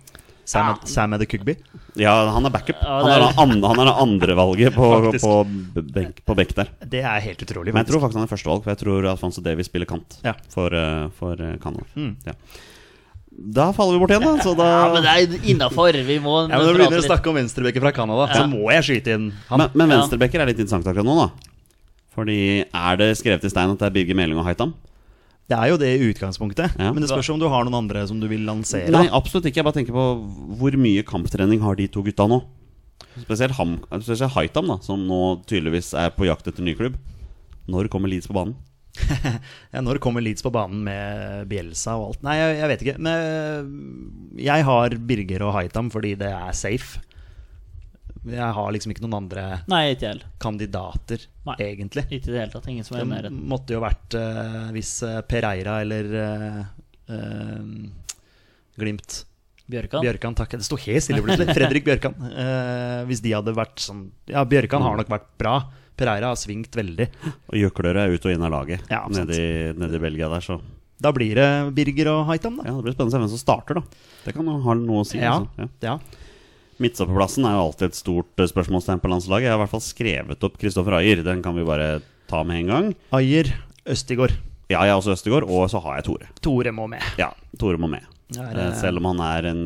[SPEAKER 3] Sam, Sam Edekugby.
[SPEAKER 1] ja han er backup.
[SPEAKER 2] Ja,
[SPEAKER 1] Han
[SPEAKER 2] det
[SPEAKER 1] er
[SPEAKER 2] er-
[SPEAKER 1] det an- han er det andrevalget på,
[SPEAKER 3] Faktisk.
[SPEAKER 1] på, benk- på bekk der.
[SPEAKER 3] Det er helt utrolig.
[SPEAKER 1] Men jeg tror
[SPEAKER 3] faktisk.
[SPEAKER 1] faktisk han er førstevalg, for jeg tror Alfonso Davies spiller kant
[SPEAKER 3] Ja.
[SPEAKER 1] for, eh, for eh, Canada. Ja. Da faller vi bort igjen, da. Så da
[SPEAKER 2] Mm. Ja, men det er innafor. Vi må
[SPEAKER 3] Ja, men Når du
[SPEAKER 2] prate
[SPEAKER 3] begynner å
[SPEAKER 2] litt.
[SPEAKER 3] snakke om venstrebekker fra Canada, så
[SPEAKER 2] Ja.
[SPEAKER 3] må jeg skyte inn han.
[SPEAKER 1] Men, men
[SPEAKER 2] Ja.
[SPEAKER 1] venstrebacker er litt interessant akkurat nå, da. Fordi er det skrevet i stein at det er Birger Meling og Haitam?
[SPEAKER 3] Det er jo det i utgangspunktet,
[SPEAKER 1] Ja.
[SPEAKER 3] men det spørs om du har noen andre som du vil lansere.
[SPEAKER 1] Nei, absolutt ikke. Jeg bare tenker på hvor mye kamptrening har de to gutta nå? Spesielt, ham, spesielt Haitam, da, som nå tydeligvis er på jakt etter ny klubb. Når kommer Leeds på banen?
[SPEAKER 3] Ja, Når kommer Leeds på banen med Bjelsa og alt? Nei, jeg, jeg vet ikke. Men eh, jeg har Birger og Haitam fordi det er safe. Jeg har liksom ikke noen andre
[SPEAKER 2] Nei, ikke jeg heller.
[SPEAKER 3] kandidater,
[SPEAKER 2] Nei.
[SPEAKER 3] egentlig.
[SPEAKER 2] Ikke i det hele tatt. Ingen som er i
[SPEAKER 3] Det
[SPEAKER 2] nærheten.
[SPEAKER 3] måtte jo vært eh, hvis eh, Pereira eller eh, eh, Glimt
[SPEAKER 2] Bjørkan.
[SPEAKER 3] Bjørkan, takk. Det sto helt stille plutselig. Fredrik Bjørkan. Eh, hvis de hadde vært sånn Ja, Bjørkan har nok vært bra. Pereira har svingt veldig.
[SPEAKER 1] Og Gjøkløra er ut og inn av laget
[SPEAKER 3] Ja, sant.
[SPEAKER 1] nede, i, nede i Belgia der, så
[SPEAKER 3] Da blir det Birger og Haitam, da.
[SPEAKER 1] ja, Det blir spennende å se hvem som starter, da. Det kan jo ha noe å si.
[SPEAKER 3] Ja.
[SPEAKER 1] altså. Ja.
[SPEAKER 3] ja.
[SPEAKER 1] Midtstopperplassen er jo alltid et stort eh, spørsmålstegn på landslaget. Jeg har i hvert fall skrevet opp Kristoffer Ayer. Den kan vi bare ta med en gang.
[SPEAKER 3] Ayer, Østigård.
[SPEAKER 1] Ja, jeg har også Østegård, og så har jeg Tore.
[SPEAKER 3] Tore må med.
[SPEAKER 1] Ja, Tore må med.
[SPEAKER 3] Ja,
[SPEAKER 1] Eh,
[SPEAKER 3] det-
[SPEAKER 1] Selv om han er en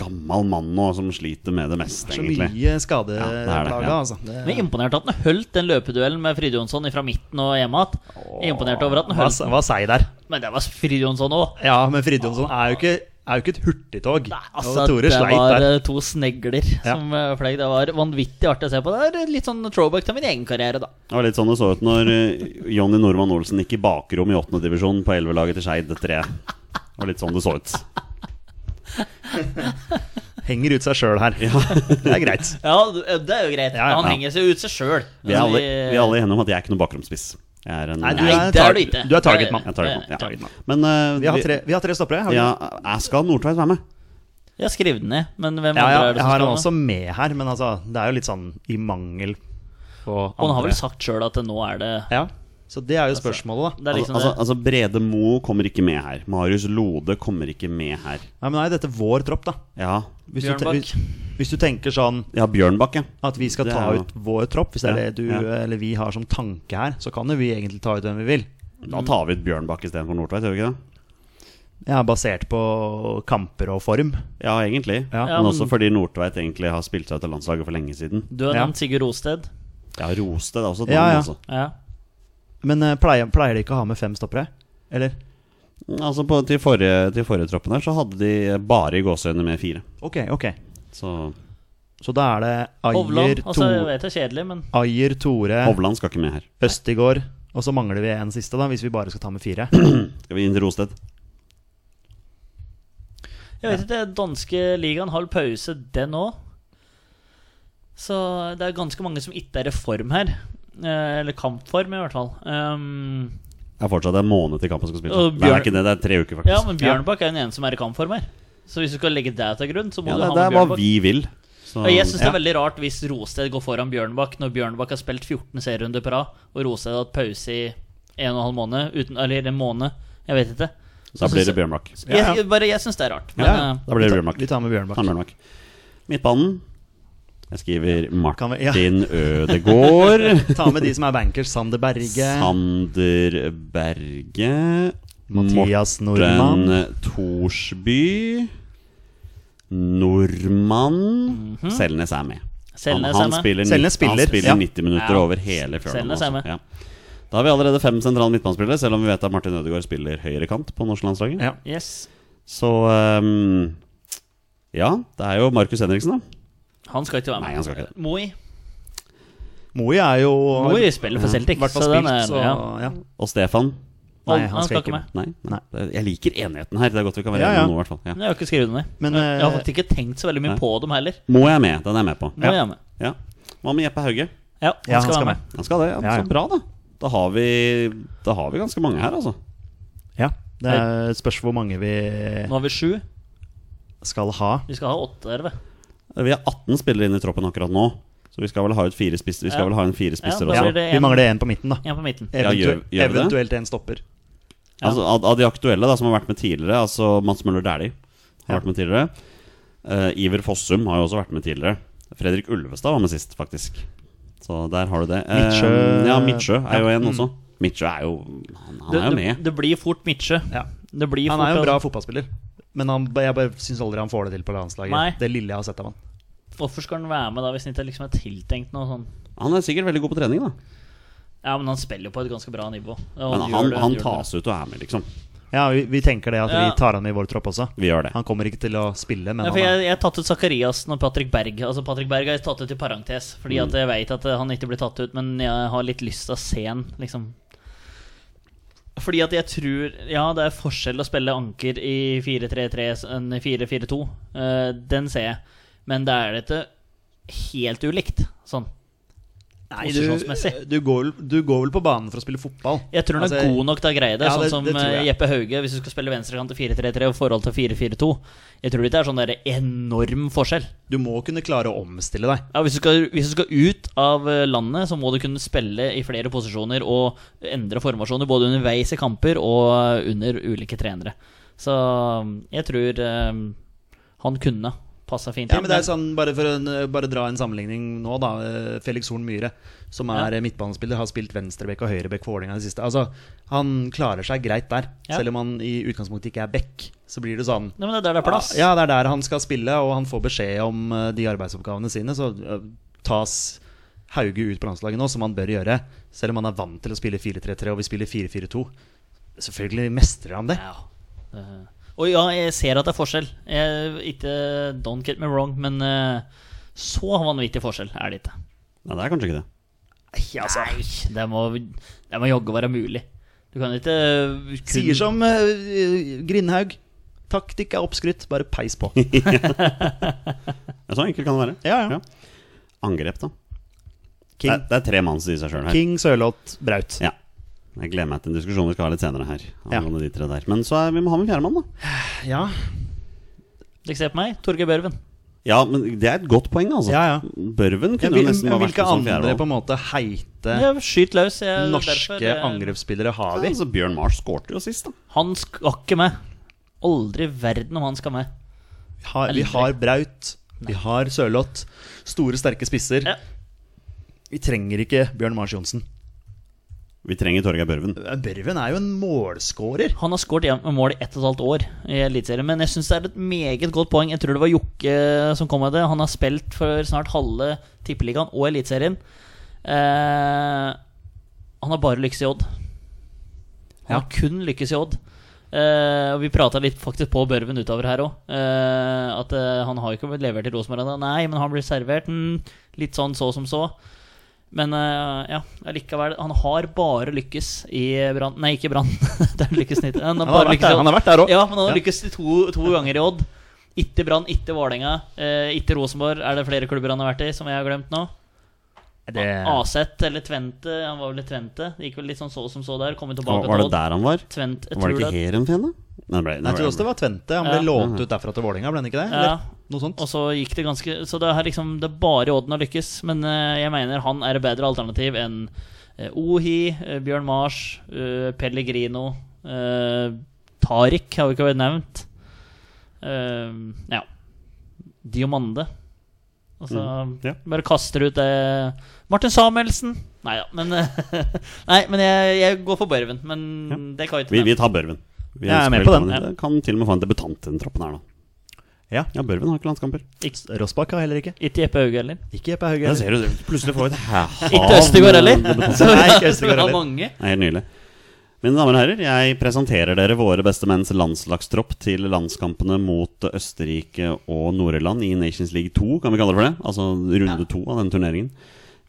[SPEAKER 1] gammel mann nå som sliter med det meste,
[SPEAKER 3] Så
[SPEAKER 1] egentlig.
[SPEAKER 3] mye
[SPEAKER 1] Ja, det er det,
[SPEAKER 3] skadeplager,
[SPEAKER 1] ja.
[SPEAKER 3] altså. Det,
[SPEAKER 2] Men imponert at han holdt den løpeduellen med Fride Jonsson fra midten og hjemme igjen. Imponert over at han
[SPEAKER 3] hva,
[SPEAKER 2] holdt den.
[SPEAKER 3] hva sier der?
[SPEAKER 2] Men det var Fride Jonsson òg.
[SPEAKER 3] Ja, men Fride Jonsson er jo ikke, er jo ikke et hurtigtog.
[SPEAKER 2] Altså,
[SPEAKER 3] og Tore
[SPEAKER 2] det
[SPEAKER 3] sleit
[SPEAKER 2] var
[SPEAKER 3] der.
[SPEAKER 2] eh, to snegler
[SPEAKER 3] Ja.
[SPEAKER 2] som eh, fløy. Det var vanvittig artig å se på. Det er litt sånn throwback til min egen karriere, da.
[SPEAKER 1] Det var litt sånn det så ut når eh, Jonny Normann Olsen gikk i bakrom i åttende divisjon på 11-laget til Skeid 3. Det var litt sånn det så ut.
[SPEAKER 3] Henger ut seg sjøl her. det er greit.
[SPEAKER 2] Ja, det er jo greit.
[SPEAKER 3] Ja, ja.
[SPEAKER 2] Han henger seg ut seg sjøl.
[SPEAKER 1] Vi er alle, vi er alle enige om at jeg er ikke noen bakromspiss. Jeg er en
[SPEAKER 3] Nei, du
[SPEAKER 2] Nei,
[SPEAKER 3] er,
[SPEAKER 2] det er
[SPEAKER 3] tar,
[SPEAKER 2] du ikke.
[SPEAKER 3] du er targetmann.
[SPEAKER 1] Jeg tar det på. Ja.
[SPEAKER 2] Targetmann.
[SPEAKER 1] Men eh,
[SPEAKER 3] Vi har tre, vi har tre stoppere. Har
[SPEAKER 1] vi,
[SPEAKER 3] vi?
[SPEAKER 1] ja,
[SPEAKER 3] Ja,
[SPEAKER 1] jeg skal Nordtveit være med.
[SPEAKER 2] Jeg har skrevet den ned, men hvem
[SPEAKER 3] ja,
[SPEAKER 2] andre er
[SPEAKER 3] jeg
[SPEAKER 2] det som
[SPEAKER 3] har han
[SPEAKER 2] skal med?
[SPEAKER 3] også med her, men altså, det er jo litt sånn i mangel på andre.
[SPEAKER 2] Og han har vel sagt sjøl at det nå er det
[SPEAKER 3] Ja, så det er jo spørsmålet, da.
[SPEAKER 2] Det er liksom
[SPEAKER 1] altså,
[SPEAKER 2] det.
[SPEAKER 1] altså, Brede Mo kommer ikke med her. Marius Lode kommer ikke med her.
[SPEAKER 3] Nei, men nei, dette er vår tropp, da.
[SPEAKER 1] Ja,
[SPEAKER 3] Hvis du, te-
[SPEAKER 2] Bjørnbakk.
[SPEAKER 3] hvis, hvis du tenker sånn
[SPEAKER 1] ja Bjørnbakke.
[SPEAKER 3] at vi skal
[SPEAKER 1] Det
[SPEAKER 3] ta
[SPEAKER 1] er jo-
[SPEAKER 3] ut vår tropp, hvis det er
[SPEAKER 1] Ja,
[SPEAKER 3] det du,
[SPEAKER 1] ja.
[SPEAKER 3] eller vi har som tanke her, så kan jo vi egentlig ta ut hvem vi vil.
[SPEAKER 1] Da tar vi ut Bjørnbakke istedenfor Nordtveit, gjør vi ikke det?
[SPEAKER 3] Ja, basert på kamper og form.
[SPEAKER 1] Ja, egentlig.
[SPEAKER 3] Ja.
[SPEAKER 2] Ja,
[SPEAKER 1] men,
[SPEAKER 2] men-
[SPEAKER 1] også fordi Nordtveit egentlig har spilt seg ut av landslaget for lenge siden.
[SPEAKER 2] Du har
[SPEAKER 3] Ja.
[SPEAKER 2] nevnt Sigurd Rosted.
[SPEAKER 1] Ja, Roste det er også et navn,
[SPEAKER 3] Ja, ja.
[SPEAKER 1] altså.
[SPEAKER 2] Ja.
[SPEAKER 3] Men eh, pleier, pleier de ikke å ha med fem stoppere? Eller?
[SPEAKER 1] altså på, til, forrige, til forrige troppen her så hadde de bare i gåseøyne med fire.
[SPEAKER 3] Ok, ok.
[SPEAKER 1] Så
[SPEAKER 3] Så da er det Ayer,
[SPEAKER 2] Hovland. Altså, jeg
[SPEAKER 3] Tor-
[SPEAKER 2] vet det er kjedelig, men
[SPEAKER 3] Ayer Tore,
[SPEAKER 1] Hovland skal ikke med her.
[SPEAKER 3] Østigård, og så mangler vi en siste, da, hvis vi bare skal ta med fire.
[SPEAKER 1] Skal vi inn til Rosted?
[SPEAKER 2] Jeg vet ikke, danske ligaen har pause den òg. Så det er ganske mange som ikke er i form her. Eh, eller kampform, i hvert fall. Um,
[SPEAKER 1] Det er fortsatt en måned til kampen skal spilles.
[SPEAKER 2] Og
[SPEAKER 1] Nei, det
[SPEAKER 2] Bjørn-
[SPEAKER 1] er ikke det, det er tre uker, faktisk.
[SPEAKER 2] ja, men Bjørnbakk er jo den eneste som er i kampform her. Så hvis du skal legge deg til grunn, så må
[SPEAKER 1] Ja,
[SPEAKER 2] du
[SPEAKER 1] det,
[SPEAKER 2] ha
[SPEAKER 1] det
[SPEAKER 2] med
[SPEAKER 1] er hva
[SPEAKER 2] Bjørnbakk.
[SPEAKER 1] vi vil. Så,
[SPEAKER 2] Og jeg syns det er
[SPEAKER 1] ja.
[SPEAKER 2] veldig rart hvis Rosted går foran Bjørnbakk når Bjørnbakk har spilt 14 serierunder på rad, og Rosted har hatt pause i en og en halv måned, uten, eller en måned, jeg vet ikke.
[SPEAKER 1] Da blir det Bjørnbakk.
[SPEAKER 2] Jeg, jeg, bare jeg syns det er rart. Men,
[SPEAKER 3] Ja.
[SPEAKER 2] eh,
[SPEAKER 1] Da blir det
[SPEAKER 3] Vi tar-
[SPEAKER 1] Bjørnbakk.
[SPEAKER 3] Vi tar med Bjørnbakk.
[SPEAKER 1] Han Bjørnbakk. Midtbanen Jeg skriver
[SPEAKER 3] Kan
[SPEAKER 1] Martin
[SPEAKER 3] vi- ja.
[SPEAKER 1] Ødegård.
[SPEAKER 3] Ta med de som er bankers. Sander Berge.
[SPEAKER 1] Sander Berge.
[SPEAKER 3] Mathias
[SPEAKER 1] Morten
[SPEAKER 3] Nordmann.
[SPEAKER 1] Thorsby. Nordmann. Selnes er med.
[SPEAKER 2] Mhm. Selnes
[SPEAKER 1] han,
[SPEAKER 2] er med.
[SPEAKER 1] han spiller, nitt-
[SPEAKER 3] Selnes spiller,
[SPEAKER 1] han spiller
[SPEAKER 3] ja.
[SPEAKER 1] 90 minutter
[SPEAKER 2] Ja.
[SPEAKER 1] over hele fjøla. nå
[SPEAKER 2] Selnes er
[SPEAKER 1] også.
[SPEAKER 2] med.
[SPEAKER 1] Ja. Da har vi allerede fem sentrale midtbanespillere, selv om vi vet at Martin Ødegaard spiller høyre kant på norsklandslaget.
[SPEAKER 3] Ja.
[SPEAKER 2] yes.
[SPEAKER 1] Så ehm, ja, det er jo Markus Henriksen, da.
[SPEAKER 2] Han skal ikke være med.
[SPEAKER 1] Nei, han skal ikke det.
[SPEAKER 2] Moi.
[SPEAKER 3] Moi er jo
[SPEAKER 2] Moi spiller
[SPEAKER 1] Mm.
[SPEAKER 2] for Celtic.
[SPEAKER 3] i hvert fall
[SPEAKER 2] så den
[SPEAKER 3] spilt,
[SPEAKER 2] er-
[SPEAKER 3] så
[SPEAKER 2] ja.
[SPEAKER 3] ja.
[SPEAKER 1] Og Stefan.
[SPEAKER 2] Nei,
[SPEAKER 3] Nei,
[SPEAKER 2] han skal ikke med.
[SPEAKER 1] Nei, nei.
[SPEAKER 3] Nei.
[SPEAKER 1] Det- Jeg liker enigheten her. Det er godt vi kan være
[SPEAKER 3] Ja,
[SPEAKER 1] enige
[SPEAKER 3] ja.
[SPEAKER 1] om noe, i hvert fall. Ja.
[SPEAKER 2] Jeg har ikke skrevet det ned.
[SPEAKER 3] Men,
[SPEAKER 2] jeg har
[SPEAKER 3] eh,
[SPEAKER 2] faktisk ikke tenkt så veldig mye
[SPEAKER 1] nei.
[SPEAKER 2] på dem heller.
[SPEAKER 1] Må jeg med? Den er jeg med på.
[SPEAKER 2] Nå er jeg med.
[SPEAKER 1] Ja. Hva med Jeppe Hauge?
[SPEAKER 2] Ja, han
[SPEAKER 3] Ja,
[SPEAKER 2] skal være med.
[SPEAKER 1] Han skal det, ja.
[SPEAKER 3] Ja, ja.
[SPEAKER 1] Så bra, da. Da har, vi, da har vi ganske mange her, altså.
[SPEAKER 3] Ja. Det er spørs hvor mange vi
[SPEAKER 2] Nå har vi sju.
[SPEAKER 3] skal ha.
[SPEAKER 2] Vi skal ha åtte der, vet
[SPEAKER 1] Vi har 18 spillere inne i troppen akkurat nå, så vi skal vel ha, ut fire spisser, vi skal
[SPEAKER 2] Ja.
[SPEAKER 1] vel ha en fire spisser
[SPEAKER 2] da
[SPEAKER 3] Ja,
[SPEAKER 2] blir
[SPEAKER 1] også.
[SPEAKER 2] det
[SPEAKER 3] vi
[SPEAKER 2] en-
[SPEAKER 3] mangler én på midten, da.
[SPEAKER 2] En på midten.
[SPEAKER 1] Ja, gjør-
[SPEAKER 3] Eventu-
[SPEAKER 1] gjør vi det?
[SPEAKER 3] eventuelt en stopper.
[SPEAKER 1] Altså, av, av de aktuelle da, som har vært med tidligere, altså Mats Møller Dæhlie har
[SPEAKER 3] Ja.
[SPEAKER 1] vært med tidligere. Eh, Iver Fossum har jo også vært med tidligere. Fredrik Ulvestad var med sist, faktisk. Så der har du det. Eh,
[SPEAKER 3] Midtsjø-
[SPEAKER 1] ja, Midtsjø er jo
[SPEAKER 3] Ja.
[SPEAKER 1] en også. Midtsjø er jo Han, han er jo
[SPEAKER 2] Mm. det,
[SPEAKER 1] med.
[SPEAKER 2] det blir fort Midtsjø.
[SPEAKER 3] Ja.
[SPEAKER 2] Det blir
[SPEAKER 3] Han
[SPEAKER 2] fort,
[SPEAKER 3] er jo en
[SPEAKER 2] altså.
[SPEAKER 3] bra fotballspiller, men han, jeg bare syns aldri han får det til på landslaget.
[SPEAKER 2] Nei.
[SPEAKER 3] Det lille jeg har sett av han.
[SPEAKER 2] Hvorfor skal han være med da hvis han ikke liksom er tiltenkt noe sånn
[SPEAKER 1] Han er sikkert veldig god på trening, da.
[SPEAKER 2] Ja, men han spiller jo på et ganske bra nivå. Og
[SPEAKER 1] Men
[SPEAKER 2] gjør
[SPEAKER 1] han,
[SPEAKER 2] det-
[SPEAKER 1] han
[SPEAKER 2] gjør det bra.
[SPEAKER 1] tas ut og er med, liksom.
[SPEAKER 3] Ja, vi, vi tenker det at
[SPEAKER 2] Ja.
[SPEAKER 3] vi tar han med i vår tropp også.
[SPEAKER 1] Vi gjør det.
[SPEAKER 3] Han kommer ikke til å spille, men
[SPEAKER 2] Ja,
[SPEAKER 3] han
[SPEAKER 2] for
[SPEAKER 3] er,
[SPEAKER 2] jeg, jeg har tatt ut Zakariassen og Patrick Berg. Altså Patrick Berg har jeg tatt ut i parentes, fordi at jeg vet at eh, han ikke blir tatt ut, men jeg har litt lyst til å se han, liksom. Fordi at jeg tror Ja, det er forskjell å spille anker i 4-3-3 enn i 4-4-2. Eh, den ser jeg. Men det er dette helt ulikt, sånn.
[SPEAKER 3] Nei,
[SPEAKER 2] posisjonsmessig.
[SPEAKER 3] du, du, går, vel- du går vel på banen for å spille fotball?
[SPEAKER 2] Jeg tror han
[SPEAKER 3] Altså,
[SPEAKER 2] er god nok til å greie det,
[SPEAKER 3] Ja, det-
[SPEAKER 2] sånn som
[SPEAKER 3] det tror jeg.
[SPEAKER 2] eh, Jeppe Hauge. Hvis du skal spille venstrekant til 4-3-3 og forhold til 4-4-2. Jeg tror ikke det er sånn der enorm forskjell.
[SPEAKER 3] Du må kunne klare å omstille deg.
[SPEAKER 2] Ja, hvis, du skal, hvis du skal ut av eh, landet, så må du kunne spille i flere posisjoner og endre formasjoner både underveis i kamper og eh, under ulike trenere. Så mm, jeg tror eh, han kunne passa fint
[SPEAKER 3] Ja,
[SPEAKER 2] inn.
[SPEAKER 3] men det er sånn, bare for å bare dra en sammenligning nå, da. eh, Felix Horn Myhre, som er
[SPEAKER 2] Ja.
[SPEAKER 3] eh, midtbanespiller, har spilt venstrebekk og høyrebekk for Vålerenga i det siste. Altså, han klarer seg greit der.
[SPEAKER 2] Ja.
[SPEAKER 3] Selv om han i utgangspunktet ikke er bekk, så blir det sånn
[SPEAKER 2] Nei, men det er der det er plass.
[SPEAKER 3] Ja, det er der han skal spille, og han får beskjed om eh, de arbeidsoppgavene sine. Så eh, tas Hauge ut på landslaget nå, som han bør gjøre. Selv om han er vant til å spille 4-3-3, og vi spiller 4-4-2. Selvfølgelig mestrer han det.
[SPEAKER 2] Ja. Eh, Og ja, jeg ser at det er forskjell. Jeg, ikke, don't get me wrong, men eh, så vanvittig forskjell er det ikke.
[SPEAKER 1] Nei, det er kanskje ikke det.
[SPEAKER 3] altså.
[SPEAKER 2] Nei, altså, det må, det må jogge være mulig. Du kan ikke kun
[SPEAKER 3] Sier som eh, Grindhaug. Taktikk er oppskrytt, bare peis på.
[SPEAKER 1] Men Så enkelt kan det være.
[SPEAKER 3] Ja, ja.
[SPEAKER 1] Angrep, da. Det,
[SPEAKER 3] King,
[SPEAKER 1] er- det er tre manns i seg sjøl her.
[SPEAKER 3] King Sørloth Braut.
[SPEAKER 1] Ja. Jeg gleder meg til en diskusjon vi skal ha litt senere her.
[SPEAKER 3] Ja.
[SPEAKER 1] Angående de tre der Men så er, vi må ha med fjerdemann, da.
[SPEAKER 3] Ja,
[SPEAKER 2] Dere ser på meg, Torgeir Børven.
[SPEAKER 1] Ja, men det er et godt poeng, altså.
[SPEAKER 3] Ja, ja.
[SPEAKER 1] Børven
[SPEAKER 3] Ja,
[SPEAKER 1] kunne
[SPEAKER 3] hvil,
[SPEAKER 1] jo nesten bare vært sånn
[SPEAKER 3] hvilke
[SPEAKER 1] med som
[SPEAKER 3] andre på
[SPEAKER 1] fjerdemann.
[SPEAKER 3] en måte heite
[SPEAKER 2] Ja, Skyt løs. Jeg, derfor,
[SPEAKER 3] norske
[SPEAKER 2] eh,
[SPEAKER 3] angrepsspillere har
[SPEAKER 1] Ja,
[SPEAKER 3] vi?
[SPEAKER 1] altså, Bjørn Mars skårte jo sist, da.
[SPEAKER 2] Han skal ikke med. Aldri i verden om han skal med.
[SPEAKER 3] har, vi
[SPEAKER 2] liker
[SPEAKER 3] har Braut, vi har Sørloth. Store, sterke spisser.
[SPEAKER 2] Ja.
[SPEAKER 3] Vi trenger ikke Bjørn Mars Johnsen.
[SPEAKER 1] Vi trenger Torgeir Børven.
[SPEAKER 3] Børven er jo en målskårer.
[SPEAKER 2] Han har skåret jevnt med mål i ett og et halvt år i Eliteserien, men jeg syns det er et meget godt poeng. Jeg tror det var Jokke eh, som kom med det. Han har spilt for snart halve Tippeligaen og Eliteserien. Eh, han har bare lykkes i Odd. Han
[SPEAKER 3] Ja.
[SPEAKER 2] har kun lykkes i Odd. Eh, og vi prata litt faktisk på Børven utover her òg. Eh, at eh, han har jo ikke levert i Rosenborg ennå. Nei, men han blir servert. Mm, litt sånn så som så. Men eh, ja, allikevel. Han har bare lykkes i Brann Nei, ikke Brann. det er lykkesnitt. Han har
[SPEAKER 3] Han har
[SPEAKER 2] bare
[SPEAKER 3] vært
[SPEAKER 2] lykkes i
[SPEAKER 3] der- han har vært der også.
[SPEAKER 2] Ja, men han har
[SPEAKER 3] Ja.
[SPEAKER 2] lykkes i to, to ganger i Odd. Ikke Brann, ikke Vålerenga, eh, ikke Rosenborg. Er det flere klubber han har vært i som jeg har glemt nå?
[SPEAKER 3] Det,
[SPEAKER 2] Aset eller Tvente. Han var vel i Tvente. Det gikk vel litt sånn så som så der. Kommer
[SPEAKER 1] Var,
[SPEAKER 2] tilbake
[SPEAKER 1] var det
[SPEAKER 2] til Odd.
[SPEAKER 1] der han var?
[SPEAKER 2] Tvent, jeg
[SPEAKER 1] Var det
[SPEAKER 2] tror
[SPEAKER 1] ikke Heerenveen, da? Nei, det ble- det
[SPEAKER 3] jeg tror
[SPEAKER 1] ble-
[SPEAKER 3] også det var Tvente. Han ble
[SPEAKER 2] Ja.
[SPEAKER 1] Mhm.
[SPEAKER 3] lånt ut derfra til Vålinga, ble han ikke det? Eller
[SPEAKER 2] Ja.
[SPEAKER 3] noe sånt?
[SPEAKER 2] Og så gikk det ganske Så det er liksom Det er bare Odden har lykkes. Men eh, jeg mener han er et bedre alternativ enn eh, Ohi, eh, Bjørn Mars, eh, Pellegrino eh, Tariq har jo ikke vært nevnt. Eh, ja. Diomande. Altså,
[SPEAKER 1] ja.
[SPEAKER 2] Bare kaster ut det Martin Samuelsen! Nei da, men eh, Nei, men jeg, jeg går for Børven. Men det kan jeg ikke
[SPEAKER 1] Vi, vi
[SPEAKER 2] nevne.
[SPEAKER 1] tar Børven. Vi
[SPEAKER 3] Jeg er
[SPEAKER 1] ønsker
[SPEAKER 3] med på den.
[SPEAKER 1] velkommen. Det Kan til og med få en debutant i den troppen her, da.
[SPEAKER 3] Ja.
[SPEAKER 1] Ja, Børven har ikke landskamper.
[SPEAKER 3] Rossbakk har heller ikke.
[SPEAKER 2] Ikke Jeppe Hauge heller.
[SPEAKER 3] Ikke Jeppe Hauge.
[SPEAKER 1] Der
[SPEAKER 3] heller.
[SPEAKER 1] ser du, plutselig får vi et hav
[SPEAKER 2] Ikke Østegård
[SPEAKER 1] med
[SPEAKER 2] heller.
[SPEAKER 1] debutanter.
[SPEAKER 2] Så
[SPEAKER 3] Nei, ikke
[SPEAKER 2] vi
[SPEAKER 3] Østegård
[SPEAKER 2] har
[SPEAKER 3] heller.
[SPEAKER 2] mange.
[SPEAKER 1] Det er helt nydelig. Mine damer og herrer, jeg presenterer dere våre beste menns landslagstropp til landskampene mot Østerrike og Nord-Irland i Nations League 2, kan vi kalle det for det? Altså runde to av denne turneringen.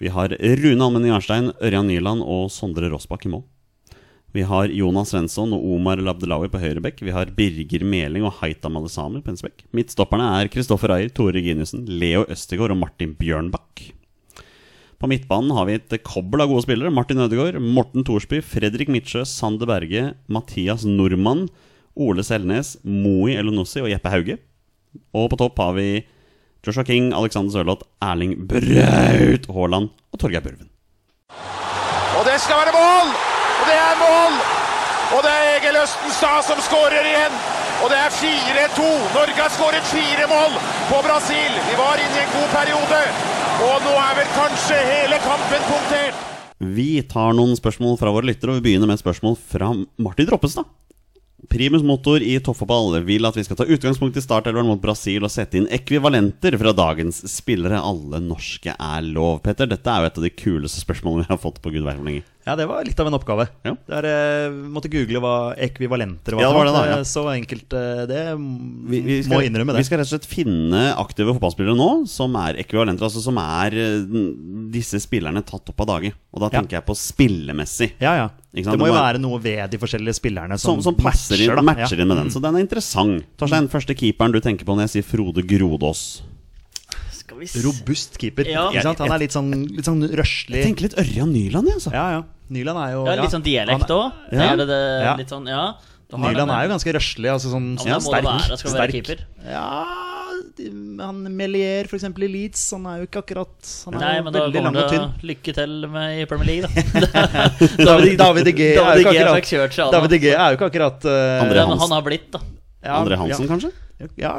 [SPEAKER 1] Vi har Rune Almen Jarstein, Ørjan Nyland og Sondre Rossbakk i mål. Vi har Jonas Svensson og Omar Labdelawi på høyrebekk. Vi har Birger Meling og Haitam Alesami på venstrebekk. Midtstopperne er Kristoffer Ayer, Tore Reginiussen, Leo Østegård og Martin Bjørnbakk. På midtbanen har vi et kobbel av gode spillere. Martin Ødegaard, Morten Thorsby, Fredrik Midtsjø, Sander Berge, Mathias Nordmann, Ole Selnes, Moi Elonossi og Jeppe Hauge. Og på topp har vi Joshua King, Alexander Sørloth, Erling Braut Haaland og Torgeir Børven.
[SPEAKER 4] Og det skal være mål! Og det er mål! Og det er Egil Østenstad som skårer igjen. Og det er 4-2. Norge har skåret fire mål på Brasil. Vi var inne i en god periode. Og nå er vel kanskje hele kampen punktert.
[SPEAKER 1] Vi tar noen spørsmål fra våre lyttere, og vi begynner med et spørsmål fra Martin Droppestad. Primus Motor i toppfotball vil at vi skal ta utgangspunkt i startelveren mot Brasil og sette inn ekvivalenter fra dagens spillere. Alle norske er lov. Petter, dette er jo et av de kuleste spørsmålene vi har fått på Gud verden lenge.
[SPEAKER 3] Ja, det var litt av en oppgave.
[SPEAKER 1] Ja.
[SPEAKER 3] Der, eh, måtte google hva ekvivalenter var.
[SPEAKER 1] Ja, det var
[SPEAKER 3] for noe.
[SPEAKER 1] det da, ja.
[SPEAKER 3] Eh, Så enkelt eh, det
[SPEAKER 1] Vi, vi skal,
[SPEAKER 3] må innrømme det.
[SPEAKER 1] Vi skal rett og slett finne aktive fotballspillere nå som er ekvivalenter, altså som er eh, disse spillerne tatt opp av dage. Og da
[SPEAKER 3] Ja.
[SPEAKER 1] tenker jeg på spillemessig.
[SPEAKER 3] Ja, ja.
[SPEAKER 1] Ikke
[SPEAKER 3] Det
[SPEAKER 1] sant?
[SPEAKER 3] må
[SPEAKER 1] Det
[SPEAKER 3] jo
[SPEAKER 1] må-
[SPEAKER 3] være noe ved de forskjellige spillerne som,
[SPEAKER 1] Som, som passer inn,
[SPEAKER 3] matcher, da.
[SPEAKER 1] matcher
[SPEAKER 3] ja. Mm.
[SPEAKER 1] inn med den. Så den er interessant. Torstein, første keeperen du tenker på når jeg sier Frode Grodås.
[SPEAKER 2] Skal vi
[SPEAKER 3] Robust keeper.
[SPEAKER 2] Ja.
[SPEAKER 3] Ikke sant? Han er litt sånn, litt sånn
[SPEAKER 1] Jeg
[SPEAKER 3] røslig.
[SPEAKER 1] tenker litt Ørjan Nyland, jeg, altså.
[SPEAKER 3] Ja, ja. Nyland er jo
[SPEAKER 2] Ja, litt sånn dialekt òg. Ja. Er det det
[SPEAKER 3] Ja.
[SPEAKER 2] litt sånn, ja. Du har
[SPEAKER 3] Nyland
[SPEAKER 2] den
[SPEAKER 3] er
[SPEAKER 2] der.
[SPEAKER 3] jo ganske røslig, altså sånn
[SPEAKER 2] Ja, men da må
[SPEAKER 3] sterk.
[SPEAKER 2] det være, skal være
[SPEAKER 3] sterk.
[SPEAKER 2] keeper.
[SPEAKER 3] Ja, de- han Melier for eksempel i Leeds, han er jo ikke akkurat Han er
[SPEAKER 2] Nei,
[SPEAKER 3] jo
[SPEAKER 2] men da
[SPEAKER 3] veldig
[SPEAKER 2] går
[SPEAKER 3] lang
[SPEAKER 2] det
[SPEAKER 3] og tynn.
[SPEAKER 2] lykke til med i Premier League, da.
[SPEAKER 3] David, David De Gea er jo
[SPEAKER 2] David
[SPEAKER 3] ikke
[SPEAKER 2] Gea
[SPEAKER 3] akkurat,
[SPEAKER 2] fikk kjørt seg, han,
[SPEAKER 3] David De Gea er jo ikke akkurat eh,
[SPEAKER 1] Andre
[SPEAKER 2] Men
[SPEAKER 1] Hansen.
[SPEAKER 2] han har blitt, da.
[SPEAKER 3] ja,
[SPEAKER 1] André Hansen,
[SPEAKER 3] ja,
[SPEAKER 1] kanskje?
[SPEAKER 3] Ja,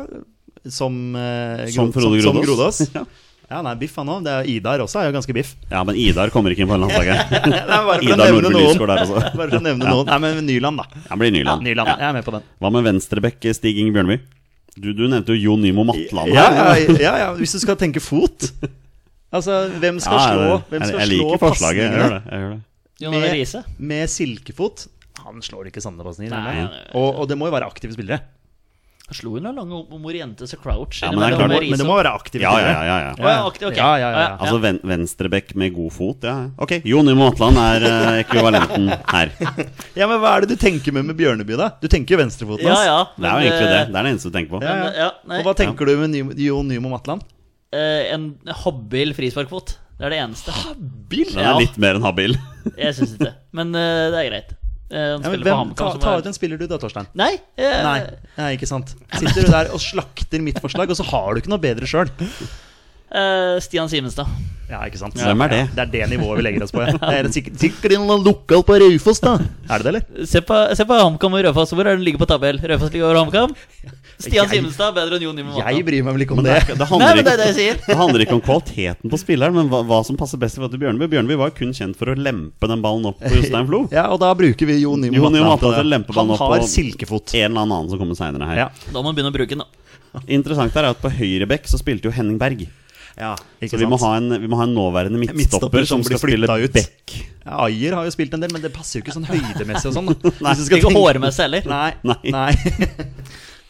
[SPEAKER 3] som, eh,
[SPEAKER 1] Som
[SPEAKER 3] Gro-
[SPEAKER 1] Frode
[SPEAKER 3] som- som
[SPEAKER 1] Grodås.
[SPEAKER 3] Grodås. Ja, han er biff, han òg. Idar også er jo ganske biff.
[SPEAKER 1] Ja, men Idar kommer ikke inn på landslaget.
[SPEAKER 3] Nei, bare for å
[SPEAKER 1] Idar
[SPEAKER 3] nevne
[SPEAKER 1] Nordby
[SPEAKER 3] noen.
[SPEAKER 1] Lysgård der, altså.
[SPEAKER 3] Bare for å nevne noen. Nei, men Nyland, da.
[SPEAKER 1] Han blir
[SPEAKER 3] Ja,
[SPEAKER 1] Nyland.
[SPEAKER 3] Nyland. Jeg er med på den.
[SPEAKER 1] Hva med venstrebekk eh, Stig Inge Bjørnby? Du, du nevnte jo Jon Nymo Matland. her.
[SPEAKER 3] Ja, ja, ja, ja. Hvis du skal tenke fot Altså, hvem skal
[SPEAKER 1] Ja,
[SPEAKER 3] slå
[SPEAKER 1] jeg-
[SPEAKER 3] Hvem skal
[SPEAKER 1] jeg, jeg
[SPEAKER 3] slå
[SPEAKER 1] liker forslaget. Jeg gjør
[SPEAKER 3] pasningene
[SPEAKER 1] det. Jeg gjør det.
[SPEAKER 2] Jon Arne Riise.
[SPEAKER 3] med silkefot? Han slår ikke sanne pasninger.
[SPEAKER 2] Nei,
[SPEAKER 3] nemlig.
[SPEAKER 2] nei, nei.
[SPEAKER 3] Og, og det må jo være aktive spillere.
[SPEAKER 2] Han slo jo noen lange opp mot Orientes og Crouch.
[SPEAKER 1] Ja, men det er klart-
[SPEAKER 2] innimellom med
[SPEAKER 3] Men det
[SPEAKER 2] Riise.
[SPEAKER 3] må være aktive
[SPEAKER 1] Ja, ja,
[SPEAKER 3] spillere.
[SPEAKER 1] ja, ja, ja.
[SPEAKER 2] Å ja, aktiv, ok.
[SPEAKER 3] Ja, ja, ja, ja.
[SPEAKER 1] Altså ven venstrebekk med god fot, ja. Ok, Jon Nymo Matland er eh, ekvivalenten her.
[SPEAKER 3] Ja, men Hva er det du tenker med med Bjørneby, da? Du tenker jo venstrefoten
[SPEAKER 2] ja,
[SPEAKER 3] hans.
[SPEAKER 2] ja, eh,
[SPEAKER 1] Det er jo egentlig det. Det er det eneste du tenker på.
[SPEAKER 3] Ja,
[SPEAKER 2] Men,
[SPEAKER 3] ja.
[SPEAKER 2] ja, nei,
[SPEAKER 3] Og hva tenker du med Ny- Jon Nymo Matland?
[SPEAKER 2] eh, en habil frisparkfot. Det er det eneste.
[SPEAKER 3] Bill?
[SPEAKER 1] Den
[SPEAKER 2] Ja.
[SPEAKER 1] er litt mer enn habil.
[SPEAKER 2] Jeg syns ikke det. Men eh, det er greit. Eh, han
[SPEAKER 3] Ja, men
[SPEAKER 2] spiller for
[SPEAKER 3] hvem,
[SPEAKER 2] HamKam.
[SPEAKER 3] ta,
[SPEAKER 2] som
[SPEAKER 3] ta
[SPEAKER 2] er-
[SPEAKER 3] ut en spiller du, da, Torstein.
[SPEAKER 2] Nei! eh,
[SPEAKER 3] Nei, nei, ikke sant. Sitter du der og slakter mitt forslag, og så har du ikke noe bedre sjøl.
[SPEAKER 2] eh, Stian Simenstad.
[SPEAKER 3] Ja, ikke sant.
[SPEAKER 1] Hvem er det?
[SPEAKER 3] Det er det nivået vi legger oss på. Ja. Det er sikkert, sikkert en lokal på Raufoss, da. Er det det, eller?
[SPEAKER 2] Se på, se på HamKam og Rødfoss. Hvor er den ligger på tabell? Rødfoss ligger over HamKam. Stian
[SPEAKER 3] Jeg-
[SPEAKER 2] Simenstad er bedre enn Jon Imen
[SPEAKER 3] Jeg bryr meg vel ikke om
[SPEAKER 1] Men det,
[SPEAKER 3] det.
[SPEAKER 1] er ikke- det, handler
[SPEAKER 2] Nei, men det
[SPEAKER 1] ikke,
[SPEAKER 2] er det jeg sier.
[SPEAKER 1] det handler ikke om kvaliteten på spilleren, men hva, hva som passer best i forhold til Bjørneby. Bjørneby var jo kun kjent for å lempe den ballen opp på Jostein Flo.
[SPEAKER 3] Ja, og da bruker vi Jon Nymo
[SPEAKER 1] Jon Nymo
[SPEAKER 3] Matland på
[SPEAKER 1] Matland til
[SPEAKER 3] det.
[SPEAKER 1] lempebanen opp
[SPEAKER 3] Han har
[SPEAKER 1] og-
[SPEAKER 3] silkefot.
[SPEAKER 1] En eller annen som kommer seinere her.
[SPEAKER 3] Ja.
[SPEAKER 2] Da må man begynne å bruke den, da.
[SPEAKER 1] Interessant her er at på høyre bekk så spilte jo Henning Berg.
[SPEAKER 3] Ja,
[SPEAKER 1] Så vi må, ha en, vi må ha en nåværende midtstopper
[SPEAKER 3] Midtstopper
[SPEAKER 1] som skal
[SPEAKER 3] som blir
[SPEAKER 1] spille
[SPEAKER 3] flytta ut.
[SPEAKER 1] bekk.
[SPEAKER 3] Ja, Ayer har jo spilt en del, men det passer jo ikke sånn høydemessig og sånn. da. Hvis du skal
[SPEAKER 2] Ikke
[SPEAKER 3] tenke-
[SPEAKER 2] hårmessig heller.
[SPEAKER 3] Nei.
[SPEAKER 1] Nei.
[SPEAKER 3] Nei.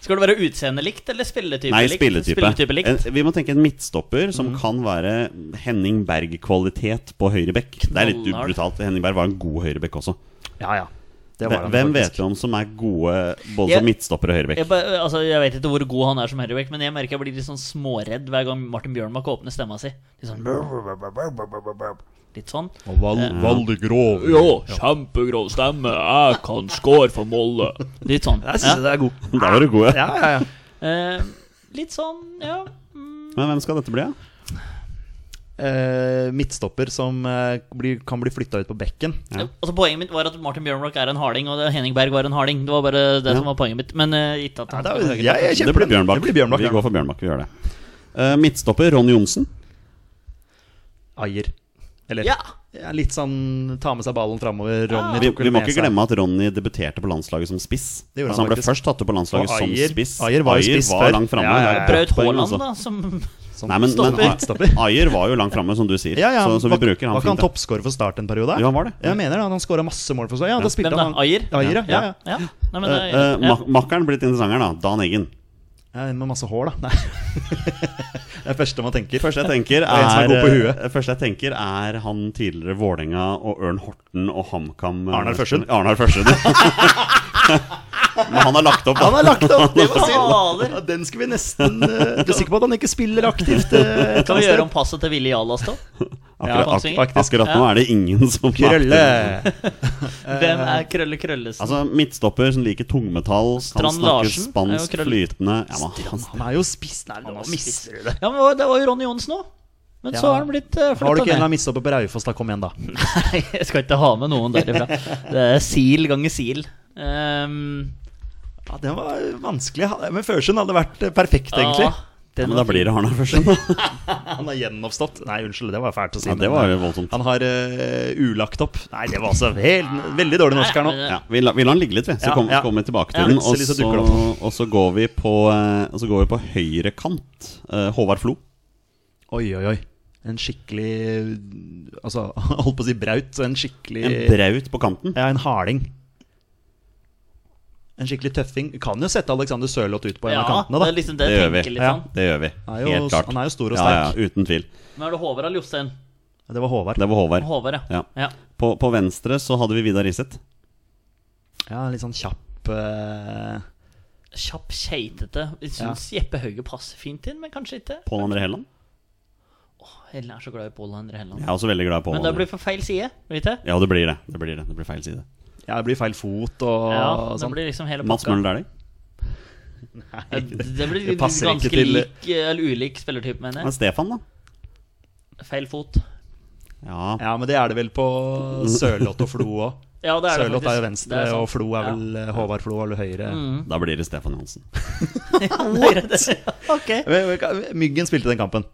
[SPEAKER 2] Skal det være utseende likt eller spilletype
[SPEAKER 1] Nei,
[SPEAKER 2] likt?
[SPEAKER 1] spilletype.
[SPEAKER 2] likt.
[SPEAKER 1] En, vi må tenke en midtstopper som kan være Henning Berg-kvalitet på høyre bekk. Det er litt
[SPEAKER 2] Knallhard.
[SPEAKER 1] brutalt. Henning Berg var en god høyre bekk også.
[SPEAKER 3] Ja, ja. Det var
[SPEAKER 1] Hvem
[SPEAKER 3] han
[SPEAKER 1] hvem
[SPEAKER 3] faktisk.
[SPEAKER 1] vet vi om som er gode både
[SPEAKER 2] Jeg-
[SPEAKER 1] som midtstopper og høyrebekk?
[SPEAKER 2] Jeg, bare- altså, jeg vet ikke hvor god han er som Herrebekk, men jeg merker jeg blir litt sånn småredd hver gang Martin Bjørnbakk åpner stemma si. Litt sånn Litt sånn.
[SPEAKER 3] Veldig grov.
[SPEAKER 2] kjempegrov stemme. Jeg kan score for Molde. Litt sånn.
[SPEAKER 3] Jeg syns
[SPEAKER 2] Ja.
[SPEAKER 3] det er god.
[SPEAKER 1] Da var du god, ja.
[SPEAKER 3] Ja, ja, ja.
[SPEAKER 2] Eh, litt sånn, ja. Mm.
[SPEAKER 1] Men hvem skal dette bli, da?
[SPEAKER 3] Eh, midtstopper som eh, blir, kan bli flytta ut på bekken.
[SPEAKER 1] Ja.
[SPEAKER 2] Altså Poenget mitt var at Martin Bjørnbakk er en harding, og det- Henning Berg var en harding. Det var bare det
[SPEAKER 1] Ja.
[SPEAKER 2] som var poenget mitt. Men eh, ikke at
[SPEAKER 3] Ja,
[SPEAKER 2] han
[SPEAKER 3] det,
[SPEAKER 2] skal
[SPEAKER 3] er,
[SPEAKER 2] på høyre.
[SPEAKER 3] jeg, jeg
[SPEAKER 1] Det
[SPEAKER 3] kjemper
[SPEAKER 1] blir
[SPEAKER 3] den.
[SPEAKER 1] Bjørnbakk.
[SPEAKER 3] Det blir Bjørnbakk
[SPEAKER 1] Vi går for Bjørnbakk. Vi gjør det. Eh, midtstopper Ronny Johnsen.
[SPEAKER 3] Ayer. Eller
[SPEAKER 2] Ja.
[SPEAKER 3] ja, litt sånn ta med seg ballen framover. Ronny
[SPEAKER 1] Vi,
[SPEAKER 3] tok vel
[SPEAKER 1] vi må
[SPEAKER 3] med
[SPEAKER 1] ikke
[SPEAKER 3] seg-
[SPEAKER 1] glemme at Ronny debuterte på landslaget som spiss.
[SPEAKER 3] Det gjorde
[SPEAKER 1] altså, han
[SPEAKER 3] han
[SPEAKER 1] ble
[SPEAKER 3] faktisk.
[SPEAKER 1] først tatt opp på landslaget
[SPEAKER 3] Og
[SPEAKER 1] som
[SPEAKER 3] Ayer-
[SPEAKER 1] spiss.
[SPEAKER 3] Ayer var jo spiss
[SPEAKER 1] var
[SPEAKER 3] før.
[SPEAKER 1] langt framme.
[SPEAKER 3] Ja, ja, ja.
[SPEAKER 1] Det er
[SPEAKER 2] Braut
[SPEAKER 1] poeng, altså.
[SPEAKER 2] Haaland, da, som
[SPEAKER 3] Sånn,
[SPEAKER 1] Nei, men, men
[SPEAKER 3] Stopper.
[SPEAKER 1] A- Ayer var jo langt framme, som du sier.
[SPEAKER 3] ja, ja,
[SPEAKER 1] Så, så vi
[SPEAKER 3] var,
[SPEAKER 1] bruker han
[SPEAKER 3] Var ikke han
[SPEAKER 1] fint. da.
[SPEAKER 3] toppscorer for Start en periode?
[SPEAKER 1] Jo, han var det.
[SPEAKER 3] Jeg mener det, han skåra masse mål for Start. Ja, da
[SPEAKER 2] Hvem
[SPEAKER 3] spilte
[SPEAKER 2] da?
[SPEAKER 3] han
[SPEAKER 2] Ayer?
[SPEAKER 3] Ayer, ja. ja, ja.
[SPEAKER 2] Ja. Nei, men
[SPEAKER 1] Eh,
[SPEAKER 2] det,
[SPEAKER 1] eh,
[SPEAKER 2] ja.
[SPEAKER 1] mak- Makkeren blitt interessanteren, da. Dan Eggen.
[SPEAKER 3] Ja, en med masse hår, da. Nei. det er første man tenker.
[SPEAKER 1] Første jeg tenker
[SPEAKER 3] en som er
[SPEAKER 1] er,
[SPEAKER 3] god på huet.
[SPEAKER 1] eh, Første jeg tenker er han tidligere Vålerenga og Ørn Horten og HamKam eh,
[SPEAKER 3] Arnar Førsund.
[SPEAKER 1] Arnar Førsund. Men han har lagt opp, da.
[SPEAKER 3] Han har lagt opp! Det var synd!
[SPEAKER 2] Fader.
[SPEAKER 3] Ja, den skulle vi nesten eh, Du er sikker på at han ikke spiller aktivt? eh, et
[SPEAKER 2] Kan vi
[SPEAKER 3] eller
[SPEAKER 2] gjøre om
[SPEAKER 3] annet
[SPEAKER 2] passet til Willy Jalas, da?
[SPEAKER 3] Eh,
[SPEAKER 1] Akkurat,
[SPEAKER 2] Ja,
[SPEAKER 1] ak
[SPEAKER 2] Kongsvinger.
[SPEAKER 1] faktisk. akkurat nå er det ingen som
[SPEAKER 3] sted? Krølle!
[SPEAKER 2] Hvem er Krølle Krøllesen?
[SPEAKER 1] Altså Midtstopper som liker tungmetall, kan
[SPEAKER 2] Strand
[SPEAKER 1] snakke
[SPEAKER 2] Larsen er jo
[SPEAKER 1] spansk
[SPEAKER 2] krøll.
[SPEAKER 1] flytende ja, men, han,
[SPEAKER 3] Han er jo spiss. Nei, nå mister du det.
[SPEAKER 2] Ja, men det var- Det var jo Ronny Johnsen òg. Men så
[SPEAKER 3] Ja.
[SPEAKER 2] er han blitt
[SPEAKER 3] Har
[SPEAKER 2] uh,
[SPEAKER 3] du ikke en eller
[SPEAKER 2] ned.
[SPEAKER 3] annen mistopper på Raufoss, da? Kom igjen, da.
[SPEAKER 2] Nei, jeg skal ikke ha med noen derifra. Det er sil ganger sil. Ehm,
[SPEAKER 3] Ja, Den var vanskelig. Men Førsund hadde vært eh, perfekt, egentlig.
[SPEAKER 2] ja, den
[SPEAKER 1] men da
[SPEAKER 2] var fin.
[SPEAKER 1] blir det Arnar Førsund. da.
[SPEAKER 3] Han har gjenoppstått. Nei, unnskyld, det var fælt å si.
[SPEAKER 1] Ja, det
[SPEAKER 3] men,
[SPEAKER 1] var jo
[SPEAKER 3] eh,
[SPEAKER 1] voldsomt.
[SPEAKER 3] Han har eh, ulagt opp. Nei, det var altså helt, veldig dårlig norsk her nå.
[SPEAKER 2] Nei,
[SPEAKER 1] Ja, vi, la, vi lar den ligge litt, vi. Så
[SPEAKER 3] Ja,
[SPEAKER 1] kommer
[SPEAKER 3] ja.
[SPEAKER 1] kommer vi tilbake
[SPEAKER 3] Ja,
[SPEAKER 1] til den. Og
[SPEAKER 3] plutselig så
[SPEAKER 1] så,
[SPEAKER 3] dukker det
[SPEAKER 1] og så går vi på, eh, og så går vi på høyre kant. eh, Håvard Flo.
[SPEAKER 3] Oi, oi, oi. En skikkelig Altså, holdt på å si braut. så En skikkelig
[SPEAKER 1] En braut på kanten.
[SPEAKER 3] Ja, en harding. En skikkelig tøffing. Kan jo sette Alexander Sørloth ut på en
[SPEAKER 2] Ja,
[SPEAKER 3] av kantene,
[SPEAKER 2] det
[SPEAKER 3] da.
[SPEAKER 2] er liksom det,
[SPEAKER 1] Det gjør
[SPEAKER 2] jeg
[SPEAKER 1] vi.
[SPEAKER 2] tenker litt
[SPEAKER 3] Ja.
[SPEAKER 2] sånn.
[SPEAKER 1] Det gjør vi.
[SPEAKER 3] Han er jo-
[SPEAKER 1] Helt klart.
[SPEAKER 3] han er jo stor og
[SPEAKER 1] Ja, ja, uten tvil.
[SPEAKER 2] Men er det Håvard eller Jostein?
[SPEAKER 3] Det var Håvard.
[SPEAKER 1] Det var Håvard.
[SPEAKER 2] Håvard, ja.
[SPEAKER 1] Ja.
[SPEAKER 2] ja.
[SPEAKER 1] På, på venstre så hadde vi Vidar Riseth.
[SPEAKER 3] Ja, litt sånn kjapp eh,
[SPEAKER 2] Kjapp, keitete. Jeg syns Jeppe Hauge passer fint inn, men kanskje ikke.
[SPEAKER 1] Pål André Helland.
[SPEAKER 2] Hellen er så glad i Pål André Helland.
[SPEAKER 1] Jeg er også veldig glad i Pål
[SPEAKER 2] Men det
[SPEAKER 1] André.
[SPEAKER 2] blir for feil side, vet du.
[SPEAKER 1] Ja, det blir det. Det blir det. Det blir feil side.
[SPEAKER 3] Ja, det blir feil fot og
[SPEAKER 2] Ja, det
[SPEAKER 3] sånn.
[SPEAKER 2] blir liksom hele
[SPEAKER 1] Mats
[SPEAKER 2] pakka.
[SPEAKER 1] Møller Dæhlie.
[SPEAKER 2] Ja, Det blir
[SPEAKER 3] Det passer ikke
[SPEAKER 2] ganske
[SPEAKER 3] til-
[SPEAKER 2] lik eller ulik spillertype, mener
[SPEAKER 1] Men
[SPEAKER 2] jeg.
[SPEAKER 1] Stefan, da?
[SPEAKER 2] Feil fot.
[SPEAKER 1] Ja,
[SPEAKER 3] Ja, men det er det vel på Sørloth og Flo òg.
[SPEAKER 2] Ja, det er det
[SPEAKER 3] Sørloth
[SPEAKER 2] faktisk.
[SPEAKER 3] er jo venstre,
[SPEAKER 2] Det er sant.
[SPEAKER 3] og Flo er
[SPEAKER 2] Ja. Mm.
[SPEAKER 3] vel eh, Håvard Flo er vel høyre.
[SPEAKER 1] da blir det Stefan Johansen.
[SPEAKER 2] Ok.
[SPEAKER 3] Men- men- Myggen spilte den kampen.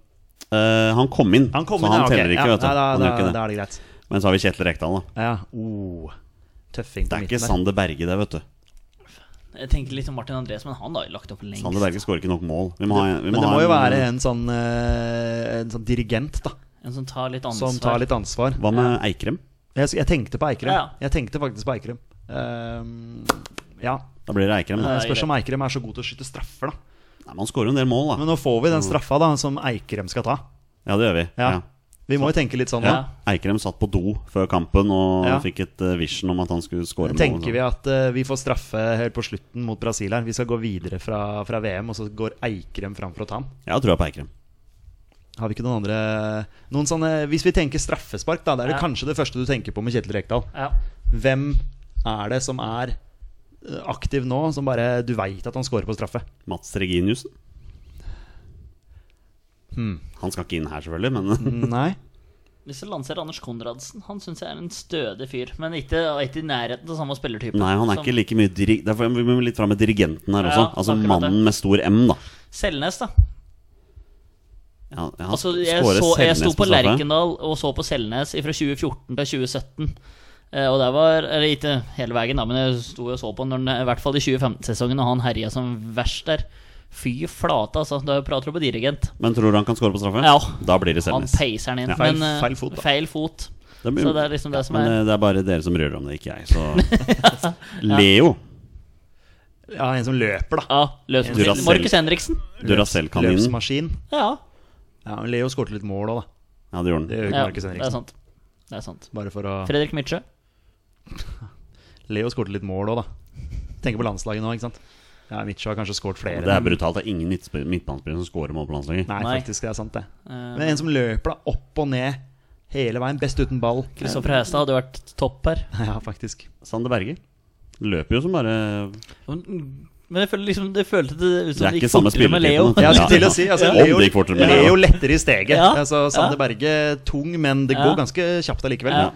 [SPEAKER 1] Eh, han kom inn,
[SPEAKER 3] Han kom
[SPEAKER 1] så
[SPEAKER 3] inn,
[SPEAKER 1] han
[SPEAKER 3] ja, ok.
[SPEAKER 1] teller ikke.
[SPEAKER 3] Ja,
[SPEAKER 1] vet du
[SPEAKER 3] nei, da,
[SPEAKER 1] han
[SPEAKER 3] da,
[SPEAKER 1] gjør ikke det.
[SPEAKER 3] da er det greit.
[SPEAKER 1] Men så har vi Kjetil Rekdal, da.
[SPEAKER 3] Ja, oh, tøffing
[SPEAKER 1] Det
[SPEAKER 3] på
[SPEAKER 1] er ikke
[SPEAKER 3] midten der.
[SPEAKER 1] Sander Berge, det, vet du.
[SPEAKER 2] Jeg tenker litt om Martin Andres, men han har jo lagt opp lengst.
[SPEAKER 1] Sander Berge skårer ikke nok mål. Vi må ha, vi må
[SPEAKER 3] Men det
[SPEAKER 1] ha
[SPEAKER 3] må jo
[SPEAKER 1] en-
[SPEAKER 3] være en sånn, eh, en sånn dirigent da
[SPEAKER 2] En som tar litt ansvar.
[SPEAKER 3] som tar litt ansvar.
[SPEAKER 1] Hva med Eikrem?
[SPEAKER 3] Jeg, jeg tenkte på Eikrem.
[SPEAKER 2] Ja, ja.
[SPEAKER 3] Jeg tenkte faktisk på Eikrem. Ehm, ja.
[SPEAKER 1] Da blir det Eikrem. Da.
[SPEAKER 2] Nei.
[SPEAKER 3] Jeg spørs om Eikrem er så god til å skyte straffer, da.
[SPEAKER 1] Nei, man skårer jo en del mål, da.
[SPEAKER 3] Men nå får vi den straffa da som Eikrem skal ta.
[SPEAKER 1] Ja, det gjør vi.
[SPEAKER 3] Ja.
[SPEAKER 1] Ja.
[SPEAKER 3] Vi må jo tenke litt sånn.
[SPEAKER 1] Ja.
[SPEAKER 3] da.
[SPEAKER 1] Eikrem satt på do før kampen og
[SPEAKER 3] Ja.
[SPEAKER 1] fikk et eh, vision om at han skulle skåre mål.
[SPEAKER 3] Tenker vi at eh, vi får straffe helt på slutten mot Brasil her. Vi skal gå videre fra, fra VM, og så går Eikrem fram for å ta han.
[SPEAKER 1] Jeg har trua på Eikrem.
[SPEAKER 3] Har vi ikke noen andre noen sånne, Hvis vi tenker straffespark, da, det er det
[SPEAKER 2] Ja.
[SPEAKER 3] kanskje det første du tenker på med Kjetil Rekdal.
[SPEAKER 2] Ja.
[SPEAKER 3] Hvem er det som er eh, aktiv nå, som bare du veit at han scorer på straffe?
[SPEAKER 1] Mats Reginiussen.
[SPEAKER 3] Hmm.
[SPEAKER 1] Han skal ikke inn her, selvfølgelig, men
[SPEAKER 3] Nei.
[SPEAKER 2] Hvis du lanserer Anders Konradsen, han syns jeg er en stødig fyr. Men ikke, ikke i nærheten av samme spillertype.
[SPEAKER 1] Nei, han er
[SPEAKER 2] som
[SPEAKER 1] ikke like mye diri Derfor må vi litt fram med dirigenten her også.
[SPEAKER 2] Ja,
[SPEAKER 1] altså
[SPEAKER 2] akkurat
[SPEAKER 1] mannen med stor M, da.
[SPEAKER 2] Selnes, da.
[SPEAKER 1] Ja, ja, han
[SPEAKER 2] Altså, jeg,
[SPEAKER 1] skårer
[SPEAKER 2] så, jeg
[SPEAKER 1] Selnes
[SPEAKER 2] sto på
[SPEAKER 1] straffe.
[SPEAKER 2] Lerkendal og så på Selnes fra 2014 til 2017. Eh, Og der var Eller ikke hele veien, da, men jeg sto og så på når den, i hvert fall i 2015-sesongen, og han herja som verst der. Fy flate, altså. Da prater du på dirigent.
[SPEAKER 1] Men tror du han kan skåre på straffe?
[SPEAKER 2] Ja.
[SPEAKER 1] Da blir det
[SPEAKER 2] Han
[SPEAKER 1] Selnes.
[SPEAKER 2] peiser den inn.
[SPEAKER 1] Ja.
[SPEAKER 3] Feil-
[SPEAKER 2] men, eh,
[SPEAKER 3] feil fot, da.
[SPEAKER 2] Feil fot.
[SPEAKER 1] Det blir-
[SPEAKER 2] Så det er liksom det som
[SPEAKER 1] Men eh,
[SPEAKER 2] er
[SPEAKER 1] det, det er bare dere som bryr dere om det, ikke jeg. Så Leo,
[SPEAKER 3] Ja, en som løper, da.
[SPEAKER 2] Ja, løs
[SPEAKER 1] Duracell.
[SPEAKER 2] Markus Henriksen.
[SPEAKER 1] Duracell-kaninen.
[SPEAKER 3] Løpsmaskin.
[SPEAKER 2] Ja,
[SPEAKER 3] Ja, men Leo skårte litt mål òg, da.
[SPEAKER 1] Ja, det gjorde
[SPEAKER 3] Det
[SPEAKER 1] han.
[SPEAKER 3] gjør jo ikke
[SPEAKER 2] ja
[SPEAKER 3] Markus
[SPEAKER 2] det er
[SPEAKER 3] Henriksen.
[SPEAKER 2] sant. Det er sant.
[SPEAKER 3] Bare for å
[SPEAKER 2] Fredrik Mitsjø.
[SPEAKER 3] Leo skåret litt mål òg, da. Tenker på landslaget nå, ikke sant. Ja, Mitcho har kanskje skåret flere.
[SPEAKER 1] Det er
[SPEAKER 3] men-
[SPEAKER 1] brutalt. Det er ingen midtspiller- midtbanespillere som scorer mål på landslaget.
[SPEAKER 3] Nei,
[SPEAKER 2] Nei.
[SPEAKER 3] faktisk, det er sant, det.
[SPEAKER 2] Eh,
[SPEAKER 3] Men en som løper da opp og ned hele veien, best uten ball.
[SPEAKER 2] Kristoffer Hestad hadde jo vært topp her.
[SPEAKER 3] Ja, faktisk.
[SPEAKER 1] Sander Berge løper jo som bare
[SPEAKER 2] Men jeg føler liksom, det følte det ut som
[SPEAKER 1] Det er
[SPEAKER 2] det gikk
[SPEAKER 1] ikke samme
[SPEAKER 2] fortere med Leo.
[SPEAKER 1] spillertypen.
[SPEAKER 3] Ja, jeg skulle
[SPEAKER 1] Ja.
[SPEAKER 3] til å si altså,
[SPEAKER 1] Ja.
[SPEAKER 3] Leo,
[SPEAKER 1] Om det gikk fortere med
[SPEAKER 3] Leo
[SPEAKER 1] Leo.
[SPEAKER 3] letter i steget.
[SPEAKER 2] Ja.
[SPEAKER 3] Altså, Sander
[SPEAKER 2] Ja.
[SPEAKER 3] Berge tung, men det
[SPEAKER 2] Ja.
[SPEAKER 3] går ganske kjapt allikevel.
[SPEAKER 2] Ja.
[SPEAKER 3] Ja.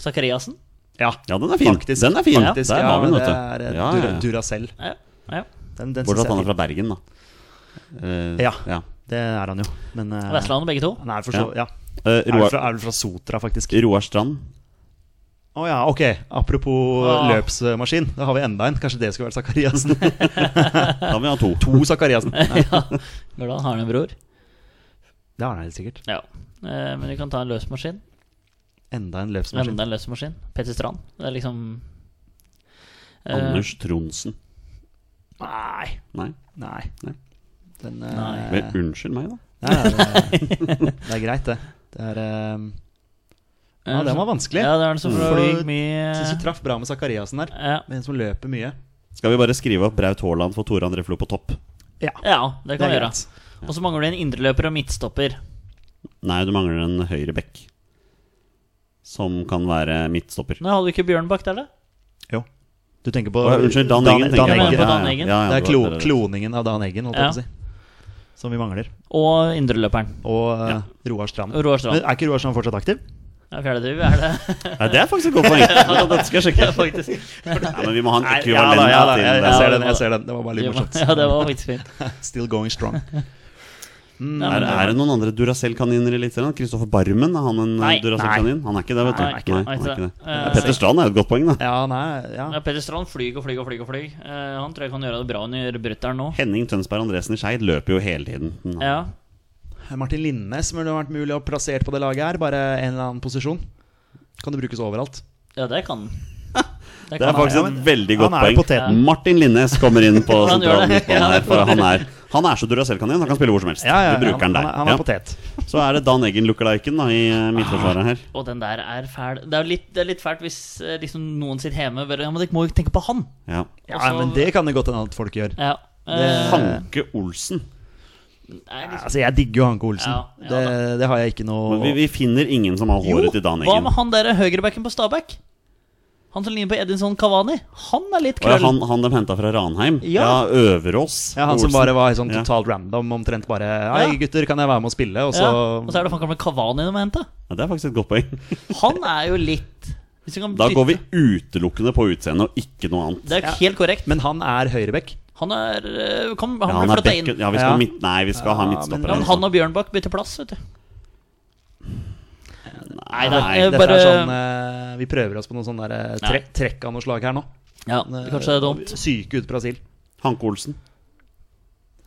[SPEAKER 2] Sakariassen.
[SPEAKER 3] Ja.
[SPEAKER 1] Ja, den er fin.
[SPEAKER 3] Faktisk.
[SPEAKER 1] Den er fin.
[SPEAKER 3] Faktisk,
[SPEAKER 1] Der
[SPEAKER 3] ja,
[SPEAKER 1] har vi den,
[SPEAKER 3] det
[SPEAKER 1] vet
[SPEAKER 3] er
[SPEAKER 1] du.
[SPEAKER 3] eh,
[SPEAKER 1] Ja,
[SPEAKER 3] Dura,
[SPEAKER 1] ja, ja.
[SPEAKER 3] Duracell.
[SPEAKER 2] Ja. ja.
[SPEAKER 3] Den, den synes
[SPEAKER 1] Bortsett fra at
[SPEAKER 3] jeg
[SPEAKER 1] han
[SPEAKER 3] er
[SPEAKER 1] er
[SPEAKER 3] fin.
[SPEAKER 1] fra Bergen, da. Eh,
[SPEAKER 3] Ja.
[SPEAKER 1] ja.
[SPEAKER 3] Det er han jo. Men eh,
[SPEAKER 2] Vestlandet, begge to.
[SPEAKER 3] Han er for så Ja.
[SPEAKER 1] Eh,
[SPEAKER 3] Er vel
[SPEAKER 1] Roar,
[SPEAKER 3] fra, er vel fra Sotra, faktisk.
[SPEAKER 1] Roar Strand.
[SPEAKER 3] Å ja, ok. Apropos
[SPEAKER 2] Ah.
[SPEAKER 3] løpsmaskin. Da har vi enda en. Kanskje det skulle vært Sakariassen.
[SPEAKER 1] Da vil vi ha to.
[SPEAKER 3] to Sakariassen. Nei,
[SPEAKER 2] Hvordan har han en bror?
[SPEAKER 3] Det har han helt sikkert.
[SPEAKER 2] Ja. Eh, men vi kan ta en løsmaskin.
[SPEAKER 3] Enda en løpsmaskin.
[SPEAKER 2] Enda en løsmaskin. Petter Strand. Det er liksom eh,
[SPEAKER 1] Anders Tronsen.
[SPEAKER 3] Nei.
[SPEAKER 1] Nei.
[SPEAKER 3] Nei.
[SPEAKER 1] Nei.
[SPEAKER 3] Den,
[SPEAKER 2] Nei.
[SPEAKER 3] eh,
[SPEAKER 1] Vel, unnskyld meg, da.
[SPEAKER 3] Nei, det, eh, det er greit, det. Det er eh, Ja, den var vanskelig.
[SPEAKER 2] eh, Ja, det er den som
[SPEAKER 3] Mm.
[SPEAKER 2] fløy
[SPEAKER 3] For-
[SPEAKER 2] mye
[SPEAKER 3] Jeg syns vi traff bra med Sakariassen der.
[SPEAKER 2] ja.
[SPEAKER 3] Med en som løper mye.
[SPEAKER 1] Skal vi bare skrive opp Braut Haaland for Tore André Flo på topp?
[SPEAKER 3] Ja,
[SPEAKER 2] ja, det
[SPEAKER 3] det
[SPEAKER 2] kan vi
[SPEAKER 3] er
[SPEAKER 2] gjøre.
[SPEAKER 3] greit.
[SPEAKER 2] Og så mangler det en indreløper og midtstopper.
[SPEAKER 1] Nei, du mangler en høyre back. Som kan være midtstopper.
[SPEAKER 2] Men hadde vi ikke Bjørnbakk der, da?
[SPEAKER 3] Du tenker på
[SPEAKER 1] Å, ja, unnskyld, Dan Eggen. tenker
[SPEAKER 3] Dan
[SPEAKER 1] jeg
[SPEAKER 2] Eggen.
[SPEAKER 1] på.
[SPEAKER 2] Dan Eggen.
[SPEAKER 1] Ja, ja,
[SPEAKER 3] Det er
[SPEAKER 1] det
[SPEAKER 3] klo,
[SPEAKER 1] var- det-
[SPEAKER 3] kloningen av Dan Eggen, holdt jeg
[SPEAKER 2] Ja.
[SPEAKER 3] på å si. Som vi mangler.
[SPEAKER 2] Og indreløperen.
[SPEAKER 3] Og eh, Roar Strand.
[SPEAKER 2] Og Roar Strand.
[SPEAKER 3] Men er ikke Roar Strand fortsatt aktiv?
[SPEAKER 2] Ja, Fjerdediv er det
[SPEAKER 1] Nei, det er faktisk et godt poeng. Ja, Dette skal jeg sjekke.
[SPEAKER 2] faktisk.
[SPEAKER 1] Ja, men vi må ha en
[SPEAKER 3] Nei,
[SPEAKER 1] ekvivalent
[SPEAKER 3] da, ja, da,
[SPEAKER 1] til
[SPEAKER 3] jeg,
[SPEAKER 1] det.
[SPEAKER 3] jeg ser
[SPEAKER 2] Ja,
[SPEAKER 3] den. jeg ser den Det var bare litt morsomt.
[SPEAKER 2] Ja, det var faktisk fint.
[SPEAKER 3] Still going strong. Mm,
[SPEAKER 2] Ja,
[SPEAKER 1] Er, er det noen andre Duracell-kaniner i Eliteserien? Kristoffer Barmen, er han en
[SPEAKER 2] Nei.
[SPEAKER 1] eh, Duracell-kanin? Han er ikke det, vet du.
[SPEAKER 2] Nei, han er ikke det.
[SPEAKER 1] han er ikke det.
[SPEAKER 2] Eh,
[SPEAKER 3] Altså,
[SPEAKER 1] Ja, Petter Strand er jo et godt poeng, da.
[SPEAKER 3] ja, nei, ja.
[SPEAKER 2] Ja, Petter Strand flyg og flyg og flyg og flyg. Eh, han tror jeg kan gjøre det bra under brutter'n nå.
[SPEAKER 1] Henning Tønsberg Andresen i Skeid løper jo hele tiden. Han-
[SPEAKER 2] Ja.
[SPEAKER 3] Martin Linnes burde vært mulig å plassere på det laget her. Bare en eller annen posisjon. Kan det brukes overalt.
[SPEAKER 2] ja, det kan han. Det
[SPEAKER 1] Det er
[SPEAKER 2] kan han.
[SPEAKER 1] faktisk
[SPEAKER 3] Ja,
[SPEAKER 1] et
[SPEAKER 3] men
[SPEAKER 1] veldig godt
[SPEAKER 3] han er jo
[SPEAKER 1] poeng.
[SPEAKER 3] poteten.
[SPEAKER 1] Martin Linnes kommer inn på
[SPEAKER 2] Han gjør
[SPEAKER 1] sentral
[SPEAKER 2] det.
[SPEAKER 1] midtbane
[SPEAKER 2] Ja,
[SPEAKER 1] her.
[SPEAKER 2] det
[SPEAKER 1] For han er, han er så Duracell-kanin, han kan spille hvor som helst. du bruker han,
[SPEAKER 3] han, han,
[SPEAKER 1] der.
[SPEAKER 3] er- han er
[SPEAKER 1] Ja.
[SPEAKER 3] potet. Ah.
[SPEAKER 1] Så er det Dan Eggen lookaliken da, i eh, midtforsvaret her.
[SPEAKER 2] Og den der er fæl. Det er jo litt, det er litt fælt hvis eh, liksom, noen sitter hjemme og bare Ja, men dere må jo tenke på han!
[SPEAKER 1] Ja.
[SPEAKER 3] Ja,
[SPEAKER 2] Og så-
[SPEAKER 3] men det kan det godt hende at folk gjør.
[SPEAKER 2] Ja.
[SPEAKER 3] Det-
[SPEAKER 2] Eh,
[SPEAKER 1] Hanke Olsen.
[SPEAKER 2] er liksom,
[SPEAKER 3] Altså, Jeg digger jo Hanke Olsen.
[SPEAKER 2] Ja, ja
[SPEAKER 3] det, det har jeg ikke noe
[SPEAKER 1] Men vi, vi finner ingen som har håret til Dan
[SPEAKER 2] hva med
[SPEAKER 1] Eggen.
[SPEAKER 2] han der høyrebacken på Stabæk? Han som ligner på Edinson Cavani. Han er litt
[SPEAKER 1] Å, ja,
[SPEAKER 2] krøll.
[SPEAKER 1] han, han de henta fra Ranheim?
[SPEAKER 2] Ja.
[SPEAKER 1] Ja, Øverås.
[SPEAKER 3] Ja, Han som
[SPEAKER 1] Olsen.
[SPEAKER 3] bare var sånn
[SPEAKER 1] Ja.
[SPEAKER 3] totalt random, omtrent bare Hei,
[SPEAKER 2] Ja.
[SPEAKER 3] gutter, kan jeg være med og spille? Og så
[SPEAKER 2] ja. og så er det faen gamle Cavani de har henta.
[SPEAKER 1] Ja, det er faktisk et godt poeng.
[SPEAKER 2] Han er jo litt Hvis vi kan
[SPEAKER 1] Da
[SPEAKER 2] bytte-
[SPEAKER 1] går vi utelukkende på utseendet og ikke noe annet.
[SPEAKER 2] Det er helt korrekt.
[SPEAKER 3] Men han er høyrebekk.
[SPEAKER 2] Han er eh, Kom,
[SPEAKER 1] Ja,
[SPEAKER 2] han
[SPEAKER 1] han
[SPEAKER 2] blir
[SPEAKER 1] er
[SPEAKER 2] flytta inn.
[SPEAKER 1] bekken, ja, vi skal
[SPEAKER 3] Ja.
[SPEAKER 1] midt, nei, vi skal ha
[SPEAKER 3] Ja, men-
[SPEAKER 1] midtstopper.
[SPEAKER 2] Ja, men
[SPEAKER 1] her,
[SPEAKER 2] han
[SPEAKER 1] altså.
[SPEAKER 2] og Bjørnbakk bytter plass, vet du. Nei, det
[SPEAKER 3] Nei,
[SPEAKER 2] er
[SPEAKER 3] dette
[SPEAKER 2] bare
[SPEAKER 3] er sånn eh, Vi prøver oss på noe sånn der, eh,
[SPEAKER 2] Nei.
[SPEAKER 3] tre, trekk av noe slag her nå.
[SPEAKER 2] Ja,
[SPEAKER 1] eh,
[SPEAKER 2] Kanskje det er dumt.
[SPEAKER 3] Syke ut Brasil.
[SPEAKER 1] Hanke Olsen.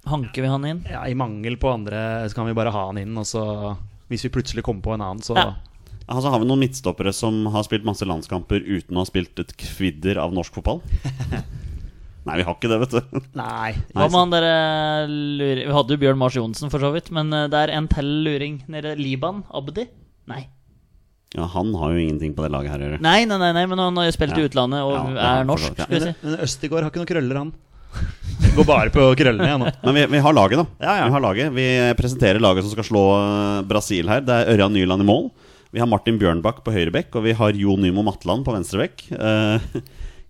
[SPEAKER 2] Hanker vi han inn?
[SPEAKER 3] Ja, I mangel på andre så kan vi bare ha han inn, og så Hvis vi plutselig kommer på en annen, så
[SPEAKER 2] Ja.
[SPEAKER 1] Altså, har vi noen midtstoppere som har spilt masse landskamper uten å ha spilt et kvidder av norsk fotball? Nei, vi har ikke det, vet du.
[SPEAKER 3] Nei.
[SPEAKER 2] Hva med han derre luring Vi hadde jo Bjørn Mars Johnsen, for så vidt, men eh, det er en til luring nede i Liban. Abdi? Nei.
[SPEAKER 1] Ja, Han har jo ingenting på det laget her å gjøre.
[SPEAKER 2] Nei, nei, nei, nei men han har jo spilt i
[SPEAKER 1] Ja.
[SPEAKER 2] utlandet og
[SPEAKER 1] Ja, det har
[SPEAKER 2] er
[SPEAKER 1] han
[SPEAKER 2] norsk,
[SPEAKER 1] for så vidt,
[SPEAKER 3] Men, eh,
[SPEAKER 2] skulle jeg si.
[SPEAKER 3] men Østigård har ikke noen krøller, han. Går bare på krøllene, jeg nå.
[SPEAKER 1] Men vi, vi har laget, da.
[SPEAKER 3] Ja, ja.
[SPEAKER 1] Vi har laget Vi presenterer laget som skal slå eh, Brasil her. Det er Ørjan Nyland i mål. Vi har Martin Bjørnbakk på høyre bekk, og vi har Jo Nymo Matland på venstre bekk. Eh,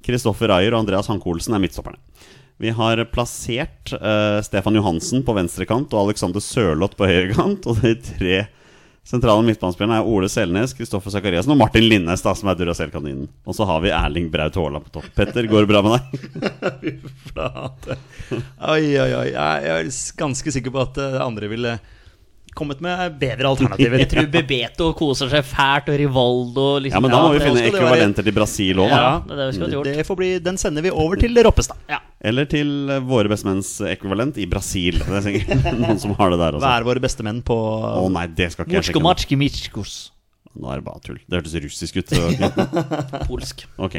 [SPEAKER 1] Kristoffer Ayer og Andreas Hanke Olsen er midtstopperne. Vi har plassert eh, Stefan Johansen på venstre kant og Alexander Sørloth på høyre kant. Og de tre sentrale midtbanespillerne er Ole Selnes, Kristoffer Sakariassen og Martin Linnes, da, som er Duracell-kaninen. Og så har vi Erling Braut Haaland på topp. Petter, går det bra med deg?
[SPEAKER 3] Flate. Oi, oi, oi. Jeg jeg er ganske sikker på at eh, andre ville kommet med bedre alternativer.
[SPEAKER 2] Jeg tror Bebeto koser seg fælt, og Rivaldo liksom,
[SPEAKER 1] Ja, men da må vi
[SPEAKER 2] det-
[SPEAKER 1] finne
[SPEAKER 3] skal det være-
[SPEAKER 1] ekvivalenter til Brasil òg, da.
[SPEAKER 2] Ja, det er det vi skulle hatt gjort.
[SPEAKER 3] Det får bli, den sender vi over til Roppestad.
[SPEAKER 1] Eller til eh, våre bestemenns ekvivalent i Brasil. Det er sikkert noen som har det der
[SPEAKER 3] Hva
[SPEAKER 1] også.
[SPEAKER 3] er våre beste menn på
[SPEAKER 1] Å nei, det skal ikke jeg
[SPEAKER 2] Morsko
[SPEAKER 1] sjekke. nå.
[SPEAKER 2] matski mitskos.
[SPEAKER 1] Nå er det bare tull. Det hørtes russisk ut. så- Ok.
[SPEAKER 2] Polsk.
[SPEAKER 1] Ok.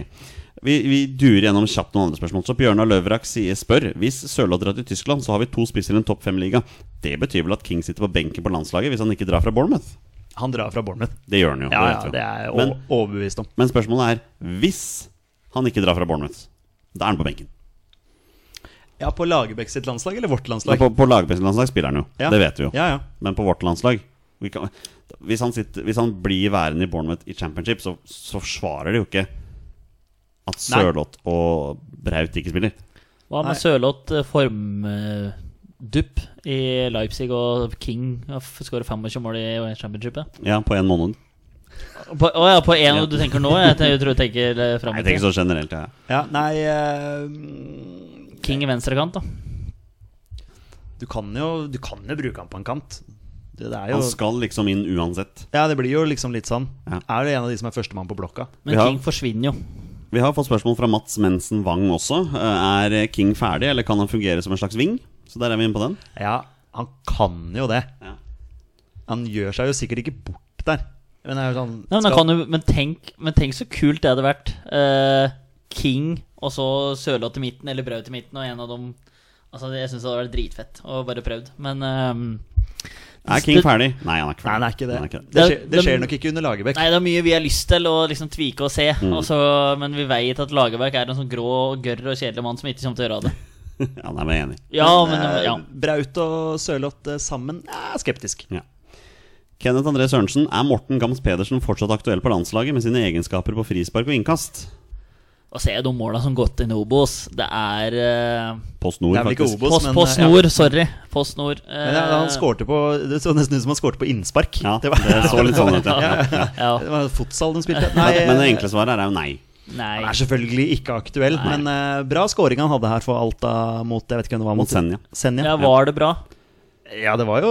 [SPEAKER 1] Vi, vi durer gjennom kjapt noen andre spørsmål. Så Bjørnar Løvrak sier spør Hvis Sørloth drar til Tyskland, så har vi to spisser i en topp fem-liga. Det betyr vel at King sitter på benken på landslaget hvis han ikke drar fra Bournemouth?
[SPEAKER 3] Han drar fra Bournemouth.
[SPEAKER 1] Det gjør han jo.
[SPEAKER 3] Ja,
[SPEAKER 1] det
[SPEAKER 3] ja,
[SPEAKER 1] vet vi
[SPEAKER 3] det
[SPEAKER 1] jo.
[SPEAKER 3] er jeg
[SPEAKER 1] men,
[SPEAKER 3] o- overbevist om.
[SPEAKER 1] men spørsmålet er Hvis han ikke drar fra Bournemouth, da er han på benken.
[SPEAKER 3] Ja, På Lagerbäck sitt landslag eller vårt
[SPEAKER 1] Men
[SPEAKER 3] landslag?
[SPEAKER 1] På, på laglandslag spiller han jo.
[SPEAKER 3] Ja.
[SPEAKER 1] Det vet vi jo.
[SPEAKER 3] Ja, ja.
[SPEAKER 1] Men på vårt landslag vi kan, hvis, han sitter, hvis han blir værende i Bournemouth i Championship, så, så forsvarer det jo ikke at
[SPEAKER 3] Nei.
[SPEAKER 1] Sørloth og Braut ikke spiller.
[SPEAKER 2] Hva med
[SPEAKER 3] Nei.
[SPEAKER 2] Sørloth eh, formdupp i Leipzig, og King skårer 25 mål i championshipet?
[SPEAKER 1] Ja, på en måned.
[SPEAKER 2] På, å ja, på én du tenker nå? Jeg ten- jeg tror du tenker eh,
[SPEAKER 1] Nei,
[SPEAKER 2] frem
[SPEAKER 1] jeg
[SPEAKER 2] i
[SPEAKER 1] tenker
[SPEAKER 2] tid.
[SPEAKER 1] så generelt, ja.
[SPEAKER 3] ja nei eh,
[SPEAKER 1] sånn-
[SPEAKER 2] King i venstrekant, da.
[SPEAKER 3] du, kan jo, du kan jo bruke han på en kant. Det, det er jo
[SPEAKER 1] Han skal liksom inn uansett.
[SPEAKER 3] Ja, det blir jo liksom litt sånn.
[SPEAKER 1] Ja.
[SPEAKER 3] Er det en av de som er førstemann på blokka?
[SPEAKER 2] Men
[SPEAKER 1] Ja.
[SPEAKER 2] King forsvinner jo.
[SPEAKER 1] Vi har fått spørsmål fra Mats Mensen Wang også. Eh, Er King ferdig, eller kan han fungere som en slags ving? Så der er vi inne på den.
[SPEAKER 3] Ja, han kan jo det.
[SPEAKER 1] Ja.
[SPEAKER 3] Han gjør seg jo sikkert ikke bort der. Men det er jo sånn
[SPEAKER 2] Nei, men, da
[SPEAKER 3] skal-
[SPEAKER 2] kan du, men, tenk, men tenk så kult det hadde vært. Eh, King og så Sørloth i midten, eller Braut i midten, og en av dem Altså, Jeg syns det hadde vært dritfett å bare prøvd, men ehm,
[SPEAKER 1] Er King ferdig? Nei, han er ikke ferdig.
[SPEAKER 3] Nei, det er ikke det.
[SPEAKER 1] Han er
[SPEAKER 3] Det, skjer,
[SPEAKER 2] Det-
[SPEAKER 3] det skjer
[SPEAKER 2] det-
[SPEAKER 3] nok ikke under Lagerbäck.
[SPEAKER 2] Nei, det er mye vi har lyst til å liksom tvike og se,
[SPEAKER 3] Mm.
[SPEAKER 2] og så- men vi veit at Lagerbäck er en sånn grå, gørr og kjedelig mann som ikke kommer til å gjøre av det.
[SPEAKER 1] Ja, nei, men jeg er enig.
[SPEAKER 2] Ja, men
[SPEAKER 3] Eh,
[SPEAKER 2] ja.
[SPEAKER 3] Braut og Sørloth eh, sammen jeg er skeptisk.
[SPEAKER 1] Ja. Kenneth André Sørensen, er Morten Gams Pedersen fortsatt aktuell på landslaget med sine egenskaper på frispark og innkast?
[SPEAKER 2] Og se de måla som gått inn i Obos. Det er eh,
[SPEAKER 1] Post
[SPEAKER 3] Det
[SPEAKER 1] Nord,
[SPEAKER 3] er vel ikke
[SPEAKER 1] faktisk.
[SPEAKER 3] Obos,
[SPEAKER 2] Post,
[SPEAKER 3] men eh,
[SPEAKER 2] post
[SPEAKER 3] ja.
[SPEAKER 2] Nord, sorry. Post Nord. eh,
[SPEAKER 3] Men ja, han skårte på Det så nesten ut som han skårte på innspark.
[SPEAKER 1] Ja, det så litt sånn ut, ja.
[SPEAKER 2] ja.
[SPEAKER 3] Det var fotsal de spilte.
[SPEAKER 1] Men, men det
[SPEAKER 3] eh,
[SPEAKER 1] enkle svaret er jo nei.
[SPEAKER 3] han
[SPEAKER 2] Nei.
[SPEAKER 3] er selvfølgelig ikke aktuell, men eh, bra scoring han hadde her for Alta mot jeg vet ikke hvem det var
[SPEAKER 1] Mot Senja.
[SPEAKER 3] Senja.
[SPEAKER 2] Ja, var det bra?
[SPEAKER 3] Ja, det var jo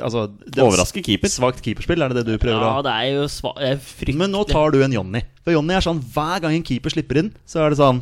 [SPEAKER 3] altså, det var
[SPEAKER 1] Overrasker keeper.
[SPEAKER 3] Svakt keeperspill, er det det du prøver
[SPEAKER 2] Ja,
[SPEAKER 3] å
[SPEAKER 2] det er jo sva det er fryktelig
[SPEAKER 3] Men nå tar du en Jonny. For Jonny er sånn hver gang en keeper slipper inn, så er det sånn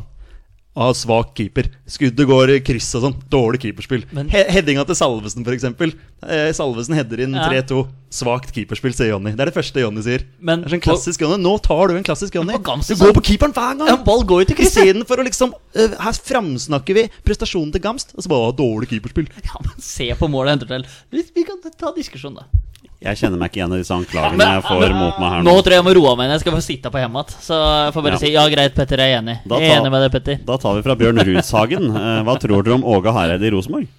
[SPEAKER 3] Ah, svak keeper. Skuddet går i kryss og sånn. Dårlig keeperspill.
[SPEAKER 2] Men-
[SPEAKER 3] He Headinga til Salvesen, f.eks. Eh, Salvesen header inn
[SPEAKER 2] Ja.
[SPEAKER 3] 3-2. Svakt keeperspill, sier Jonny. Det er det første Jonny sier.
[SPEAKER 2] Men
[SPEAKER 3] det er sånn
[SPEAKER 2] på-
[SPEAKER 3] klassisk Jonny. Nå tar du en klassisk Jonny.
[SPEAKER 2] på Gams
[SPEAKER 3] Du
[SPEAKER 2] så-
[SPEAKER 3] går på keeperen hver gang!
[SPEAKER 2] Ja, ball går jo til krysset.
[SPEAKER 3] Istedenfor å liksom eh, Her framsnakker vi prestasjonen til Gamst, og så bare ah, dårlig keeperspill.
[SPEAKER 2] Ja, men se på målet jeg henter til. Vi, vi kan ta diskusjon, da.
[SPEAKER 1] Jeg kjenner meg ikke igjen i disse anklagene jeg får mot meg her
[SPEAKER 2] Nå
[SPEAKER 1] nå.
[SPEAKER 2] tror jeg jeg må roe meg ned. Jeg skal få sitte på hjemme igjen. Så jeg får bare
[SPEAKER 1] Ja.
[SPEAKER 2] si ja, greit, Petter, jeg er enig.
[SPEAKER 1] Da
[SPEAKER 2] Jeg er
[SPEAKER 1] tar-
[SPEAKER 2] enig med deg, Petter.
[SPEAKER 1] Da tar vi fra Bjørn Rushagen. Eh, Hva tror dere om Åge Hareide i Rosenborg?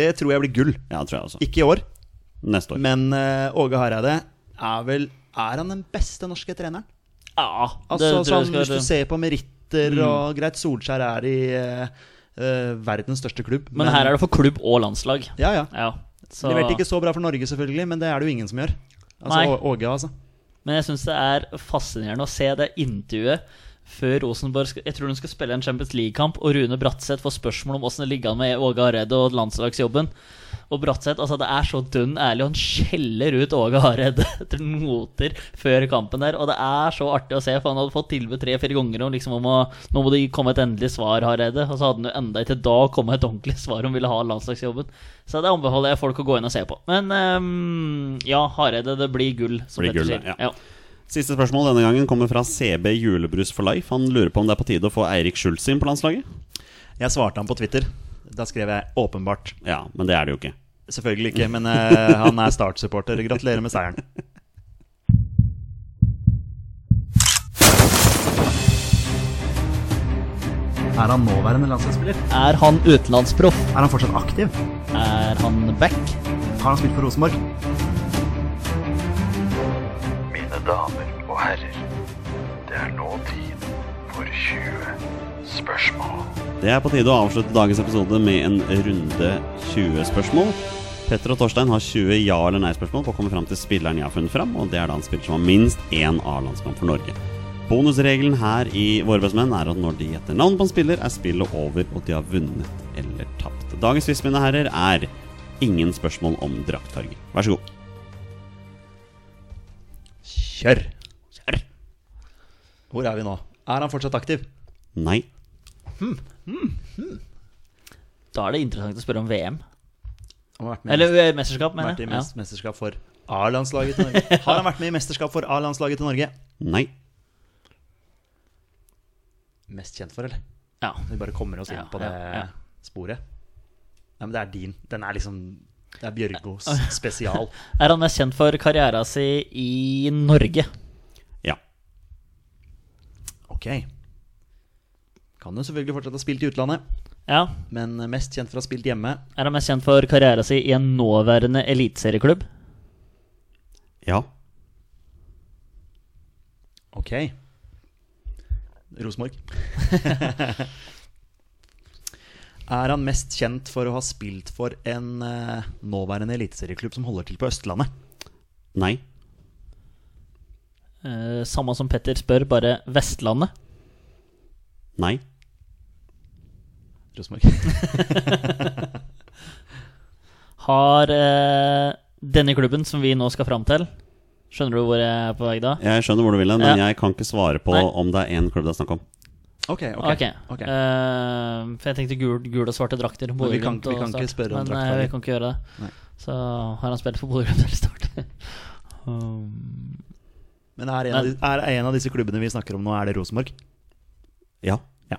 [SPEAKER 3] Det tror jeg blir gull.
[SPEAKER 1] Ja, tror jeg også.
[SPEAKER 3] Ikke i år,
[SPEAKER 1] Neste år.
[SPEAKER 3] men eh, Åge Hareide er vel Er han den beste norske treneren?
[SPEAKER 2] Ja, det
[SPEAKER 3] Altså,
[SPEAKER 2] tror jeg
[SPEAKER 3] sånn,
[SPEAKER 2] skal Mm.
[SPEAKER 3] hvis du ser på meritter og greit, Solskjær er i eh, eh, verdens største klubb.
[SPEAKER 2] Men her er det for klubb og landslag.
[SPEAKER 3] Ja, ja.
[SPEAKER 2] Ja. Så...
[SPEAKER 3] Leverte ikke så bra for Norge, selvfølgelig, men det er det jo ingen som gjør. Altså,
[SPEAKER 2] Nei.
[SPEAKER 3] Å- Åge, altså.
[SPEAKER 2] Men jeg syns det er fascinerende å se det intervjuet før Rosenborg skal, Jeg tror de skal spille en Champions League-kamp, og Rune Bratseth får spørsmål om åssen det ligger an med Åge Hareide og landslagsjobben. Og Bratseth altså det er så dønn ærlig, og han skjeller ut Åge Hareide etter noter før kampen der. Og det er så artig å se, for han hadde fått tilbud tre-fire ganger om, liksom, om å Nå må det komme et endelig svar, Hareide. Og så hadde han jo enda ikke da kommet et ordentlig svar om ville ha landslagsjobben. Så det anbefaler jeg folk å gå inn og se på. Men ehm, ja, Hareide, det blir gull, som
[SPEAKER 1] Blir gull,
[SPEAKER 2] Petter sier.
[SPEAKER 1] ja. Siste spørsmål denne gangen kommer fra CB Julebrus for life. Han lurer på om det er på tide å få Eirik Schultz inn på landslaget?
[SPEAKER 3] Jeg svarte han på Twitter. Da skrev jeg 'åpenbart'.
[SPEAKER 1] Ja, men det er det jo ikke.
[SPEAKER 3] Selvfølgelig ikke, men eh, han er Start-supporter. Gratulerer med seieren. Er han nåværende landslagsspiller?
[SPEAKER 2] Er han utenlandsproff?
[SPEAKER 3] Er han fortsatt aktiv?
[SPEAKER 2] Er han back?
[SPEAKER 3] Har han spilt for Rosenborg?
[SPEAKER 5] Mine damer og herrer, det er nå tid for 20 spørsmål.
[SPEAKER 1] Det er på tide å avslutte dagens episode med en runde 20 spørsmål. Petter og Torstein har 20 ja- eller nei-spørsmål på å komme fram til spilleren jeg har funnet fram, og det er da en spiller som har minst én A-landskamp for Norge. Bonusregelen her i Våre bestemenn er at når de gjetter navn på en spiller, er spillet over og de har vunnet eller tapt. Dagens quiz, mine herrer, er ingen spørsmål om draktfarge. Vær så god.
[SPEAKER 3] Kjør! Kjør! Hvor er vi nå? Er han fortsatt aktiv?
[SPEAKER 1] Nei.
[SPEAKER 2] Da er det interessant å spørre om VM.
[SPEAKER 3] Han har vært med,
[SPEAKER 2] Eller eh, mesterskap, mener
[SPEAKER 3] vært i
[SPEAKER 2] jeg.
[SPEAKER 3] mes- mesterskap for A-landslaget til Norge. Har han vært med i mesterskap for A-landslaget til Norge?
[SPEAKER 1] Nei.
[SPEAKER 3] Mest kjent for, eller?
[SPEAKER 2] Ja.
[SPEAKER 3] Vi bare kommer oss inn
[SPEAKER 2] Ja,
[SPEAKER 3] på det
[SPEAKER 2] ja, ja.
[SPEAKER 3] sporet. Nei, men det er din. Den er liksom Det er Bjørgos spesial.
[SPEAKER 2] Er han mest kjent for karriera si i Norge?
[SPEAKER 1] Ja.
[SPEAKER 3] Ok. Kan jo selvfølgelig fortsatt ha spilt i utlandet,
[SPEAKER 2] Ja.
[SPEAKER 3] men mest kjent for å ha spilt hjemme.
[SPEAKER 2] Er han mest kjent for karriera si i en nåværende eliteserieklubb?
[SPEAKER 1] Ja.
[SPEAKER 3] Ok. Rosenborg. er han mest kjent for å ha spilt for en eh, nåværende eliteserieklubb som holder til på Østlandet?
[SPEAKER 1] Nei.
[SPEAKER 2] Eh, samme som Petter spør, bare Vestlandet.
[SPEAKER 1] Nei.
[SPEAKER 3] Rosenborg.
[SPEAKER 2] Har eh, denne klubben som vi nå skal fram til Skjønner du hvor jeg er på vei da?
[SPEAKER 1] Jeg skjønner hvor du vil hen, men
[SPEAKER 2] Ja.
[SPEAKER 1] jeg kan ikke svare på
[SPEAKER 2] Nei.
[SPEAKER 1] om det er én klubb det er snakk om.
[SPEAKER 3] Ok, ok.
[SPEAKER 2] Ok.
[SPEAKER 3] ok.
[SPEAKER 2] Eh, for jeg tenkte gul, gul og svarte drakter.
[SPEAKER 3] vi kan
[SPEAKER 2] Bodø-Glimt
[SPEAKER 3] ikke- vi
[SPEAKER 2] og
[SPEAKER 3] kan ikke
[SPEAKER 2] Start.
[SPEAKER 3] spørre om
[SPEAKER 2] Men,
[SPEAKER 3] drakta
[SPEAKER 2] eh,
[SPEAKER 3] di.
[SPEAKER 2] vi kan ikke gjøre det.
[SPEAKER 3] Nei.
[SPEAKER 2] Så har han spilt for Bodø-Glimt eller Start? um,
[SPEAKER 3] Men er en, av, de- er en av disse klubbene vi snakker om nå, er det Rosenborg?
[SPEAKER 1] Ja.
[SPEAKER 3] Ja.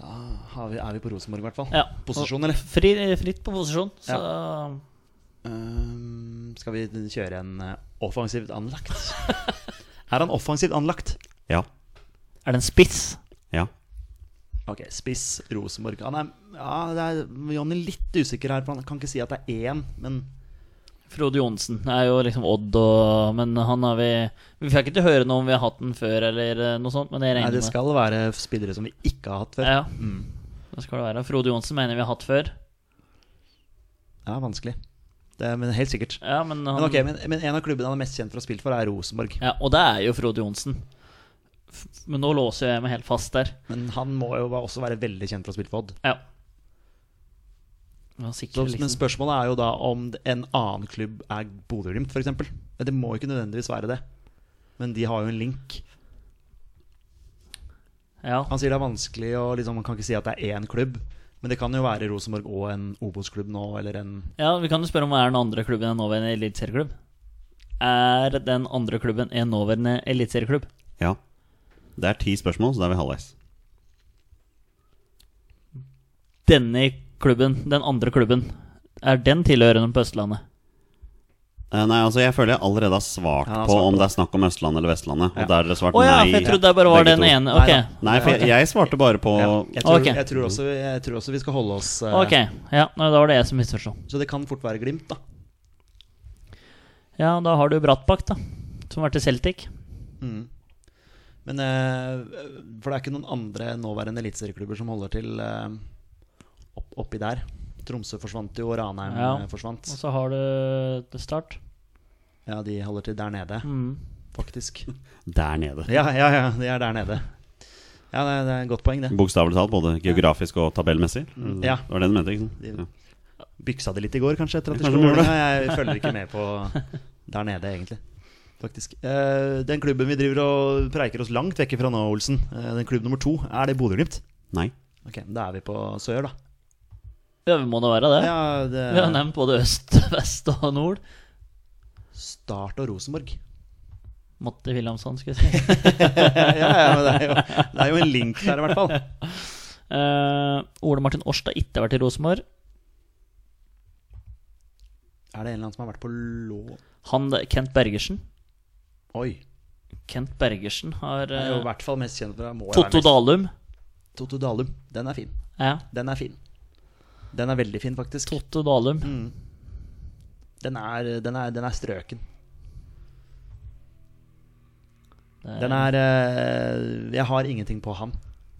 [SPEAKER 3] Da har vi, er vi på Rosenborg, i hvert fall.
[SPEAKER 2] ja.
[SPEAKER 3] Posisjon, eller?
[SPEAKER 2] Fri, fritt på posisjon, så
[SPEAKER 3] Ehm, skal vi kjøre en eh, offensivt anlagt? er han offensivt anlagt?
[SPEAKER 1] Ja.
[SPEAKER 2] er det en spiss.
[SPEAKER 1] Ja.
[SPEAKER 3] Ok, spiss Rosenborg. Han er, ja, det er Johnny litt usikker her, for han kan ikke si at det er én, men
[SPEAKER 2] Frode Johnsen er jo liksom Odd og Men han har vi Vi fikk ikke høre noe om vi har hatt den før eller eh, noe sånt, men jeg
[SPEAKER 3] nei,
[SPEAKER 2] regner
[SPEAKER 3] det
[SPEAKER 2] med
[SPEAKER 3] skal være spillere som vi Mm. ikke har hatt før.
[SPEAKER 2] Ja. Det skal det være. Frode Johnsen mener vi har hatt før.
[SPEAKER 3] Ja, vanskelig. Det er, men helt sikkert.
[SPEAKER 2] Ja, men han
[SPEAKER 3] Men, ok, men, men en av klubbene han er mest kjent for å ha spilt for, er Rosenborg.
[SPEAKER 2] Ja, Og det er jo Frode Johnsen. F- Men nå låser jeg meg helt fast der.
[SPEAKER 3] Men han må jo va- også være veldig kjent for å ha spilt for Odd.
[SPEAKER 2] Ja. Det var sikkert
[SPEAKER 3] Så, men
[SPEAKER 2] liksom,
[SPEAKER 3] spørsmålet er jo da om det- en annen klubb er Bodø-Glimt, f.eks. Men det må jo ikke nødvendigvis være det. Men de har jo en link.
[SPEAKER 2] ja.
[SPEAKER 3] Han sier det er vanskelig, og liksom, man kan ikke si at det er én klubb. Men det kan jo være Rosenborg og en Obos-klubb nå, eller en
[SPEAKER 2] ja, vi kan jo spørre om hva er den andre klubben en nåværende eliteserieklubb? Er den andre klubben en nåværende eliteserieklubb?
[SPEAKER 1] Ja. Det er ti spørsmål, så da er vi halvveis.
[SPEAKER 2] Denne klubben, den andre klubben, er den tilhørende på Østlandet?
[SPEAKER 1] Eh, Nei, altså Jeg føler jeg allerede har svart,
[SPEAKER 3] Ja, han har
[SPEAKER 1] på
[SPEAKER 3] svart på
[SPEAKER 1] om
[SPEAKER 3] det.
[SPEAKER 1] det er snakk om Østlandet eller Vestlandet. Og der har dere svart
[SPEAKER 2] Å ja,
[SPEAKER 1] nei.
[SPEAKER 2] for jeg trodde det bare var
[SPEAKER 1] begge
[SPEAKER 2] den
[SPEAKER 1] to.
[SPEAKER 2] ene.
[SPEAKER 3] Nei da.
[SPEAKER 2] Ok.
[SPEAKER 1] Nei, for jeg, jeg svarte bare på
[SPEAKER 3] ja, jeg, tror,
[SPEAKER 2] Ok.
[SPEAKER 3] jeg, tror også, jeg tror også vi skal holde oss eh,
[SPEAKER 2] Ok, ja, nei, Da var det jeg som misforsto.
[SPEAKER 3] Så det kan fort være Glimt, da.
[SPEAKER 2] Ja, da har du Brattbakk, da. Som var til Celtic.
[SPEAKER 3] Men eh, For det er ikke noen andre nåværende eliteserieklubber som holder til eh, opp, oppi der. Tromsø forsvant jo, og Ranheim
[SPEAKER 2] Ja.
[SPEAKER 3] eh, forsvant.
[SPEAKER 2] Og så har du til Start.
[SPEAKER 3] Ja, de holder til der nede,
[SPEAKER 2] Mm.
[SPEAKER 3] faktisk.
[SPEAKER 1] Der nede.
[SPEAKER 3] Ja, ja, ja, de er der nede. Ja, det er, det er et godt poeng, det.
[SPEAKER 1] Bokstavelig talt, både geografisk og tabellmessig.
[SPEAKER 2] Mm.
[SPEAKER 3] Ja.
[SPEAKER 1] Det var det du mente, ikke sant? Ja.
[SPEAKER 3] Byksa det litt i går, kanskje, etter at de
[SPEAKER 1] Kanskje
[SPEAKER 3] slo
[SPEAKER 1] de gjorde det.
[SPEAKER 3] Vålerenga. Jeg følger ikke med på der nede, egentlig. Faktisk. Eh, den klubben vi driver og preiker oss langt vekk fra nå, Olsen, eh, den klubb nummer to, er det Bodø-Glimt?
[SPEAKER 1] Nei.
[SPEAKER 3] Ok, da er vi på Sør, da.
[SPEAKER 2] Ja, vi må da være det.
[SPEAKER 3] Ja, det
[SPEAKER 2] Vi har nevnt både øst, vest og nord.
[SPEAKER 3] Start og Rosenborg.
[SPEAKER 2] Matti Wilhelmsson, skulle jeg si.
[SPEAKER 3] Ja, ja, ja, men det er, jo, det er jo en link der, i hvert fall.
[SPEAKER 2] Eh, Ole Martin Årstad har ikke vært i Rosenborg.
[SPEAKER 3] Er det en eller annen som har vært på lå...
[SPEAKER 2] Han Kent Bergersen.
[SPEAKER 3] Oi.
[SPEAKER 2] Kent Bergersen har
[SPEAKER 3] Det er jo i
[SPEAKER 2] eh,
[SPEAKER 3] hvert fall mest kjent for må jo være
[SPEAKER 2] Totto
[SPEAKER 3] mest-
[SPEAKER 2] Dalum.
[SPEAKER 3] Totto Dalum. Den er fin.
[SPEAKER 2] Ja,
[SPEAKER 3] Den er fin. Den er veldig fin, faktisk.
[SPEAKER 2] Totto Dalum.
[SPEAKER 3] Den er, den er, den er strøken.
[SPEAKER 2] Det
[SPEAKER 3] Den er eh, Jeg har ingenting på han,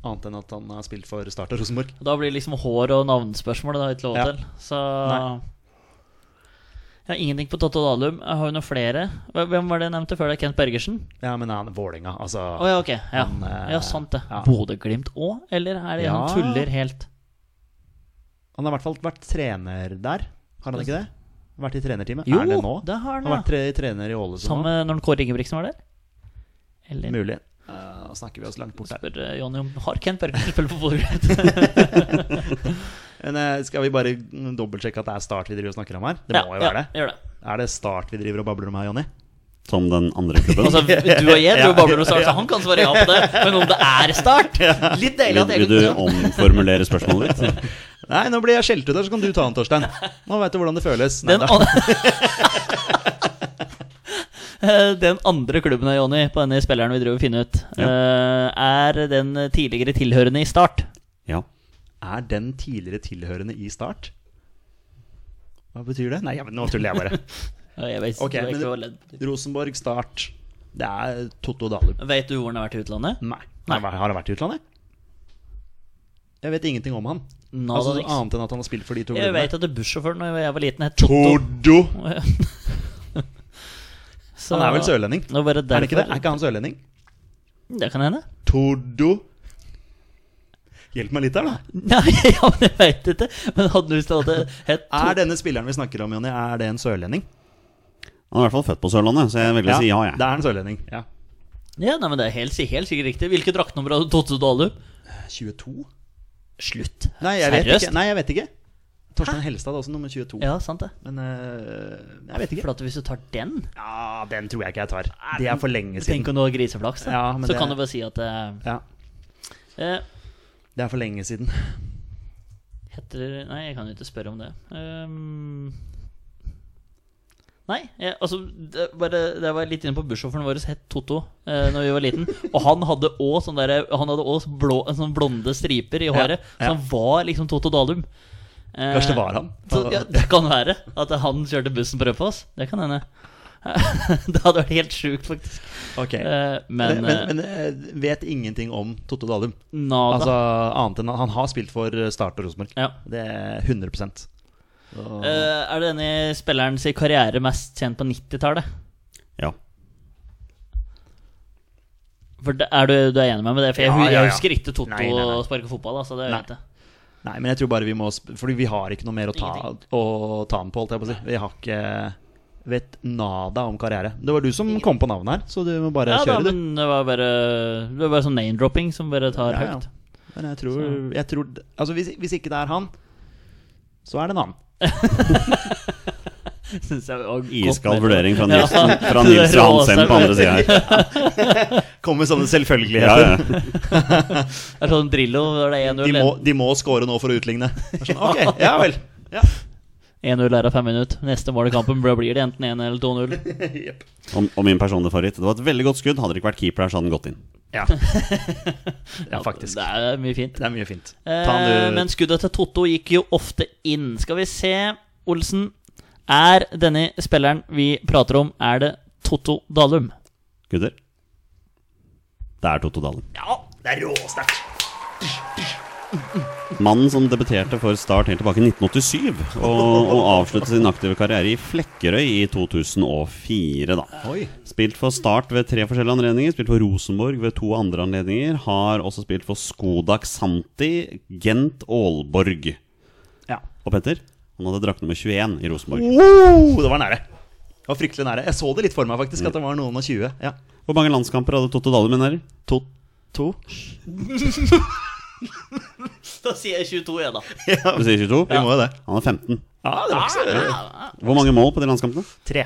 [SPEAKER 3] annet enn at han har spilt for Start og Rosenborg.
[SPEAKER 2] Da blir det liksom hår og navnespørsmål. Det har jeg ikke lov
[SPEAKER 3] Ja.
[SPEAKER 2] til. Så
[SPEAKER 3] Nei.
[SPEAKER 2] Jeg har ingenting på Totto Dalum. Jeg har jo noen flere. Hva- Hvem var det jeg nevnte før? det? Kent Bergersen?
[SPEAKER 3] Ja, men han Vålinga, altså
[SPEAKER 2] Å ja, ok. Ja,
[SPEAKER 3] Han, eh,
[SPEAKER 2] ja sant det.
[SPEAKER 3] ja.
[SPEAKER 2] Bodø-Glimt òg, eller er det han
[SPEAKER 3] Ja.
[SPEAKER 2] tuller helt?
[SPEAKER 3] Han har i hvert fall vært trener der, har han ikke det? Vært i trenerteamet?
[SPEAKER 2] Jo,
[SPEAKER 3] er det nå?
[SPEAKER 2] det har han,
[SPEAKER 3] han har vært tre,
[SPEAKER 2] ja.
[SPEAKER 3] trener i Ålesund nå?
[SPEAKER 2] Samme når Kåre Ingebrigtsen var der? Eller
[SPEAKER 3] Mulig. Eh, Nå snakker vi oss langt bort her.
[SPEAKER 2] spør eh, Jonny om har Kent Bergersen spilt for Bodø-Glimt?
[SPEAKER 3] Men eh, skal vi bare dobbeltsjekke at det er Start vi driver og snakker om her? Det må jo være det.
[SPEAKER 2] Gjør det.
[SPEAKER 3] Er det Start vi driver og babler om her, Jonny?
[SPEAKER 1] Som den andre klubben.
[SPEAKER 2] Altså, du og jeg dro babler om start, så han kan svare ja på det. Men om det er start Litt
[SPEAKER 1] vil,
[SPEAKER 2] deilig at
[SPEAKER 1] vil
[SPEAKER 2] jeg
[SPEAKER 1] du omformulere spørsmålet ditt?
[SPEAKER 3] Nei, nå blir jeg skjelt ut her, så kan du ta den, Torstein. Nå veit du hvordan det føles. Nei,
[SPEAKER 2] Den,
[SPEAKER 3] da.
[SPEAKER 2] an- den andre klubben Jonny, på denne spilleren vi driver og finner ut, eh, er den tidligere tilhørende i Start.
[SPEAKER 1] Ja.
[SPEAKER 3] Er den tidligere tilhørende i Start? Hva betyr det? Nei, ja, men nå tuller jeg bare.
[SPEAKER 2] Ja, Jeg vet,
[SPEAKER 3] Ok,
[SPEAKER 2] det var
[SPEAKER 3] men
[SPEAKER 2] ikke
[SPEAKER 3] det-
[SPEAKER 2] hva ledd.
[SPEAKER 3] Rosenborg, Start. Det er Totto Dalum.
[SPEAKER 2] vet du hvor han har vært i utlandet?
[SPEAKER 3] Nei. Har han vært i utlandet? Jeg vet ingenting om han.
[SPEAKER 2] Nå
[SPEAKER 3] Altså
[SPEAKER 2] hadde
[SPEAKER 3] noe
[SPEAKER 2] jeg ikke-
[SPEAKER 3] Annet enn at han har spilt for de to
[SPEAKER 2] jeg vet
[SPEAKER 3] klubbene.
[SPEAKER 2] at det bussjåføren da jeg var liten, het
[SPEAKER 3] Tordo!
[SPEAKER 2] Så-
[SPEAKER 3] Han er vel sørlending?
[SPEAKER 2] Det var bare
[SPEAKER 3] Er han ikke det?
[SPEAKER 2] derfor-
[SPEAKER 3] Er ikke han sørlending?
[SPEAKER 2] Det kan hende.
[SPEAKER 3] Tordo Hjelp meg litt her, da.
[SPEAKER 2] Nei, ja, men jeg veit ikke. Men hadde du stått det het
[SPEAKER 3] Er denne spilleren vi snakker om, Jonny, er det en sørlending?
[SPEAKER 1] Han er i hvert fall født på Sørlandet, så jeg ville si ja, jeg.
[SPEAKER 3] Det er en sørlending. Ja.
[SPEAKER 2] Ja, nei, men Det er helt, si- helt sikkert riktig. Hvilket draktnummer hadde Totte Dalum?
[SPEAKER 3] 22?
[SPEAKER 2] Slutt.
[SPEAKER 3] Nei, jeg vet
[SPEAKER 2] Seriøst?
[SPEAKER 3] ikke. Nei, jeg vet ikke. Torstein Helstad er også nummer 22.
[SPEAKER 2] Ja, sant det.
[SPEAKER 3] Men øh, jeg vet
[SPEAKER 2] For
[SPEAKER 3] ikke.
[SPEAKER 2] at hvis du tar den
[SPEAKER 3] Ja, den tror jeg ikke jeg tar. Det er for lenge
[SPEAKER 2] Tenk
[SPEAKER 3] siden.
[SPEAKER 2] om du har griseflaks, da.
[SPEAKER 3] Ja, men
[SPEAKER 2] så
[SPEAKER 3] det-
[SPEAKER 2] kan du bare si at eh,
[SPEAKER 3] Ja,
[SPEAKER 2] eh,
[SPEAKER 3] det er for lenge siden.
[SPEAKER 2] Heter Nei, jeg kan jo ikke spørre om det. Ehm, nei, jeg, altså det, bare, det var litt inne på bussjåføren vår het Totto uh, Når vi var liten. Og han hadde òg sånn derre- han hadde også blå, sånn blonde striper i håret.
[SPEAKER 3] ja.
[SPEAKER 2] Så han var liksom Totto Dalum. Eh,
[SPEAKER 3] Kanskje det var han?
[SPEAKER 2] Så, ja, det kan være at han kjørte bussen prøve på oss. Det kan hende. det hadde vært helt sjukt, faktisk.
[SPEAKER 3] Ok.
[SPEAKER 2] Eh, men
[SPEAKER 3] Men, men, men øh, vet ingenting om Totto Dalum.
[SPEAKER 2] eh, nada.
[SPEAKER 3] Altså Annet enn at han har spilt for øh, Start og Rosenborg.
[SPEAKER 2] ja.
[SPEAKER 3] Det er 100
[SPEAKER 2] Eh, er denne spilleren sin karriere mest kjent på 90-tallet?
[SPEAKER 1] Ja.
[SPEAKER 2] For det, er du, du er enig med meg med det? For jeg,
[SPEAKER 3] Ja, ja,
[SPEAKER 2] jeg
[SPEAKER 3] ja.
[SPEAKER 2] husker ikke Totto
[SPEAKER 3] Nei, nei, nei.
[SPEAKER 2] sparke fotball. Altså, det
[SPEAKER 3] Nei.
[SPEAKER 2] vet jeg.
[SPEAKER 3] Nei, men jeg tror bare vi må sp- Fordi vi har ikke noe mer å ta, å ta den på, holdt jeg på å si. Vi har ikke Vet nada om karriere. Det var du som kom på navnet her, så du må bare
[SPEAKER 2] Ja, da,
[SPEAKER 3] kjøre, du.
[SPEAKER 2] men det var bare Det var bare sånn name-dropping som bare tar
[SPEAKER 3] Ja, ja.
[SPEAKER 2] høyt.
[SPEAKER 3] Men jeg tror, jeg tror Altså, hvis, hvis ikke det er han, så er det en annen.
[SPEAKER 2] Synes jeg var godt
[SPEAKER 1] Iskald
[SPEAKER 2] med.
[SPEAKER 1] vurdering fra
[SPEAKER 2] Ja.
[SPEAKER 1] Nils, fra Nils
[SPEAKER 2] Det er
[SPEAKER 1] Johansen på andre
[SPEAKER 2] råsert.
[SPEAKER 1] sida her.
[SPEAKER 3] Kommer sånne
[SPEAKER 1] Ja,
[SPEAKER 3] selvfølgeligheter.
[SPEAKER 1] ja.
[SPEAKER 2] Det er sånn Drillo, da er det
[SPEAKER 3] De,
[SPEAKER 2] 1-0.
[SPEAKER 3] må, de må score nå for å utligne. Det er Sånn, ok, ja vel. Ja.
[SPEAKER 2] 1-0 er av fem minutter. Neste mål i kampen blir blir det enten 1 eller 2-0.
[SPEAKER 1] Og, og min personlige favoritt. Det var et veldig godt skudd. Hadde det ikke vært keeper her, så hadde den gått inn.
[SPEAKER 3] ja. ja, faktisk.
[SPEAKER 2] Det er mye fint.
[SPEAKER 3] Det er mye fint. Ta
[SPEAKER 2] Eh,
[SPEAKER 3] den,
[SPEAKER 2] men
[SPEAKER 3] du.
[SPEAKER 2] skuddet til Totto gikk jo ofte inn. Skal vi se, Olsen. Er denne spilleren vi prater om, er det Totto Dalum?
[SPEAKER 1] Gutter? Det er Totto Dalen.
[SPEAKER 3] Ja, det er råsterkt.
[SPEAKER 1] Mannen som debuterte for Start helt tilbake i 1987, og, og avsluttet sin aktive karriere i Flekkerøy i 2004, da.
[SPEAKER 3] Oi.
[SPEAKER 1] Spilt for Start ved tre forskjellige anledninger. Spilt for Rosenborg ved to andre anledninger. Har også spilt for Skodak Santi, Gent Aalborg.
[SPEAKER 3] Ja.
[SPEAKER 1] Og Petter, han hadde drakt nummer 21 i Rosenborg.
[SPEAKER 3] Wow, Oh, det var nære. Det var fryktelig nære. Jeg så det litt for meg, faktisk. At det var noen og 20. Ja.
[SPEAKER 1] Hvor mange landskamper hadde Totte Dahlum her?
[SPEAKER 3] To. to.
[SPEAKER 2] Da sier jeg 22, jeg, da.
[SPEAKER 1] Du sier 22?
[SPEAKER 3] Vi må jo det. Ah.
[SPEAKER 1] Han er 15.
[SPEAKER 3] Ja, det var ikke så
[SPEAKER 2] Ah,
[SPEAKER 1] Hvor mange mål på de landskampene?
[SPEAKER 3] Tre.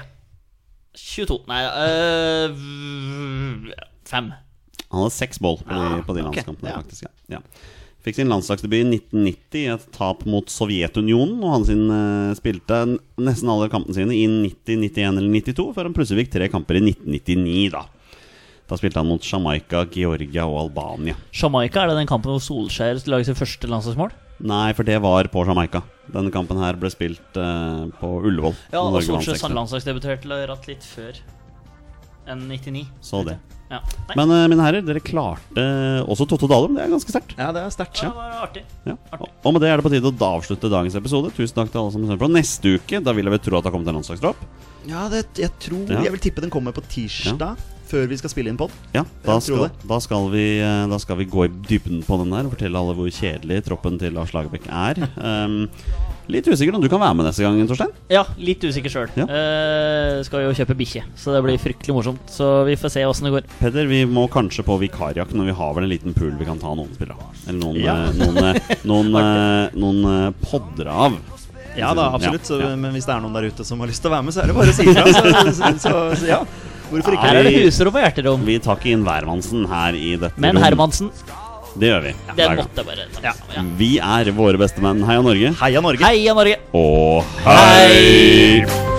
[SPEAKER 2] 22 Nei, øh, fem.
[SPEAKER 1] Han hadde seks mål på de, på de
[SPEAKER 3] Ah, ok.
[SPEAKER 1] landskampene,
[SPEAKER 3] Ja.
[SPEAKER 1] faktisk. Ja. Ja. Fikk sin landslagsdebut i 1990 i et tap mot Sovjetunionen. Og han sin, eh, spilte n- nesten alle kampene sine i 90, 91 eller 92, før han plutselig fikk tre kamper i 1999, da. Da spilte han mot Jamaica, Georgia og Albania.
[SPEAKER 2] Jamaica, er det den kampen hvor Solskjær lager sitt første landslagsmål?
[SPEAKER 1] Nei, for det var på Jamaica. Denne kampen her ble spilt eh, på Ullevål.
[SPEAKER 2] Ja,
[SPEAKER 1] når
[SPEAKER 2] og
[SPEAKER 3] altså,
[SPEAKER 1] Norge vant
[SPEAKER 2] Solskjær
[SPEAKER 1] 6-0.
[SPEAKER 2] landslagsdebuterte la- ratt litt før enn 99.
[SPEAKER 1] Så det.
[SPEAKER 2] Ja. Nei,
[SPEAKER 1] Men eh, mine herrer, dere klarte eh, også Totto Dalum. Det er ganske sterkt.
[SPEAKER 3] Ja, det er sterkt.
[SPEAKER 2] det
[SPEAKER 3] Ja.
[SPEAKER 2] var artig.
[SPEAKER 1] Ja. Og- Og med det er det på tide å da avslutte dagens episode. Tusen takk til alle som ser på. Neste uke da vil jeg vel tro at det har kommet en landslagstropp.
[SPEAKER 3] Ja, det, jeg tror
[SPEAKER 1] Ja.
[SPEAKER 3] Jeg vil tippe den kommer på tirsdag, før vi skal spille inn pod.
[SPEAKER 1] Ja, da
[SPEAKER 3] Jeg tror
[SPEAKER 1] skal, da, skal vi, eh, da skal vi gå i dybden på den der og fortelle alle hvor kjedelig troppen til Lars Lagerbäck er. Um, litt usikker om du kan være med neste gang, Torstein.
[SPEAKER 2] Ja, litt usikker sjøl.
[SPEAKER 1] Ja.
[SPEAKER 2] Eh, skal jo kjøpe bikkje, så det blir fryktelig morsomt. Så vi får se åssen det går.
[SPEAKER 1] Peder, vi må kanskje på vikarjakk når vi har vel en liten pool vi kan ta noen spillere av. Eller noen,
[SPEAKER 3] Ja.
[SPEAKER 1] eh, noen, eh, noen, eh, noen eh, podder av.
[SPEAKER 3] Ja da, absolutt. Så,
[SPEAKER 1] Ja, ja.
[SPEAKER 3] Men hvis det er noen der ute som har lyst til å være med, så er det bare å si ifra. Så, så, så, så ja. Hvorfor ikke?
[SPEAKER 2] Her er det
[SPEAKER 1] vi-
[SPEAKER 2] husrom og hjerterom.
[SPEAKER 1] Vi tar ikke inn hvermannsen her i dette
[SPEAKER 2] Men
[SPEAKER 1] rom.
[SPEAKER 2] Hermansen
[SPEAKER 1] Det gjør vi.
[SPEAKER 2] Det
[SPEAKER 1] hver gang.
[SPEAKER 2] måtte jeg bare ta med sammen, ja.
[SPEAKER 1] Vi er våre beste menn. Heia Norge.
[SPEAKER 3] Heia Norge!
[SPEAKER 2] Heia Norge!
[SPEAKER 1] Og hei!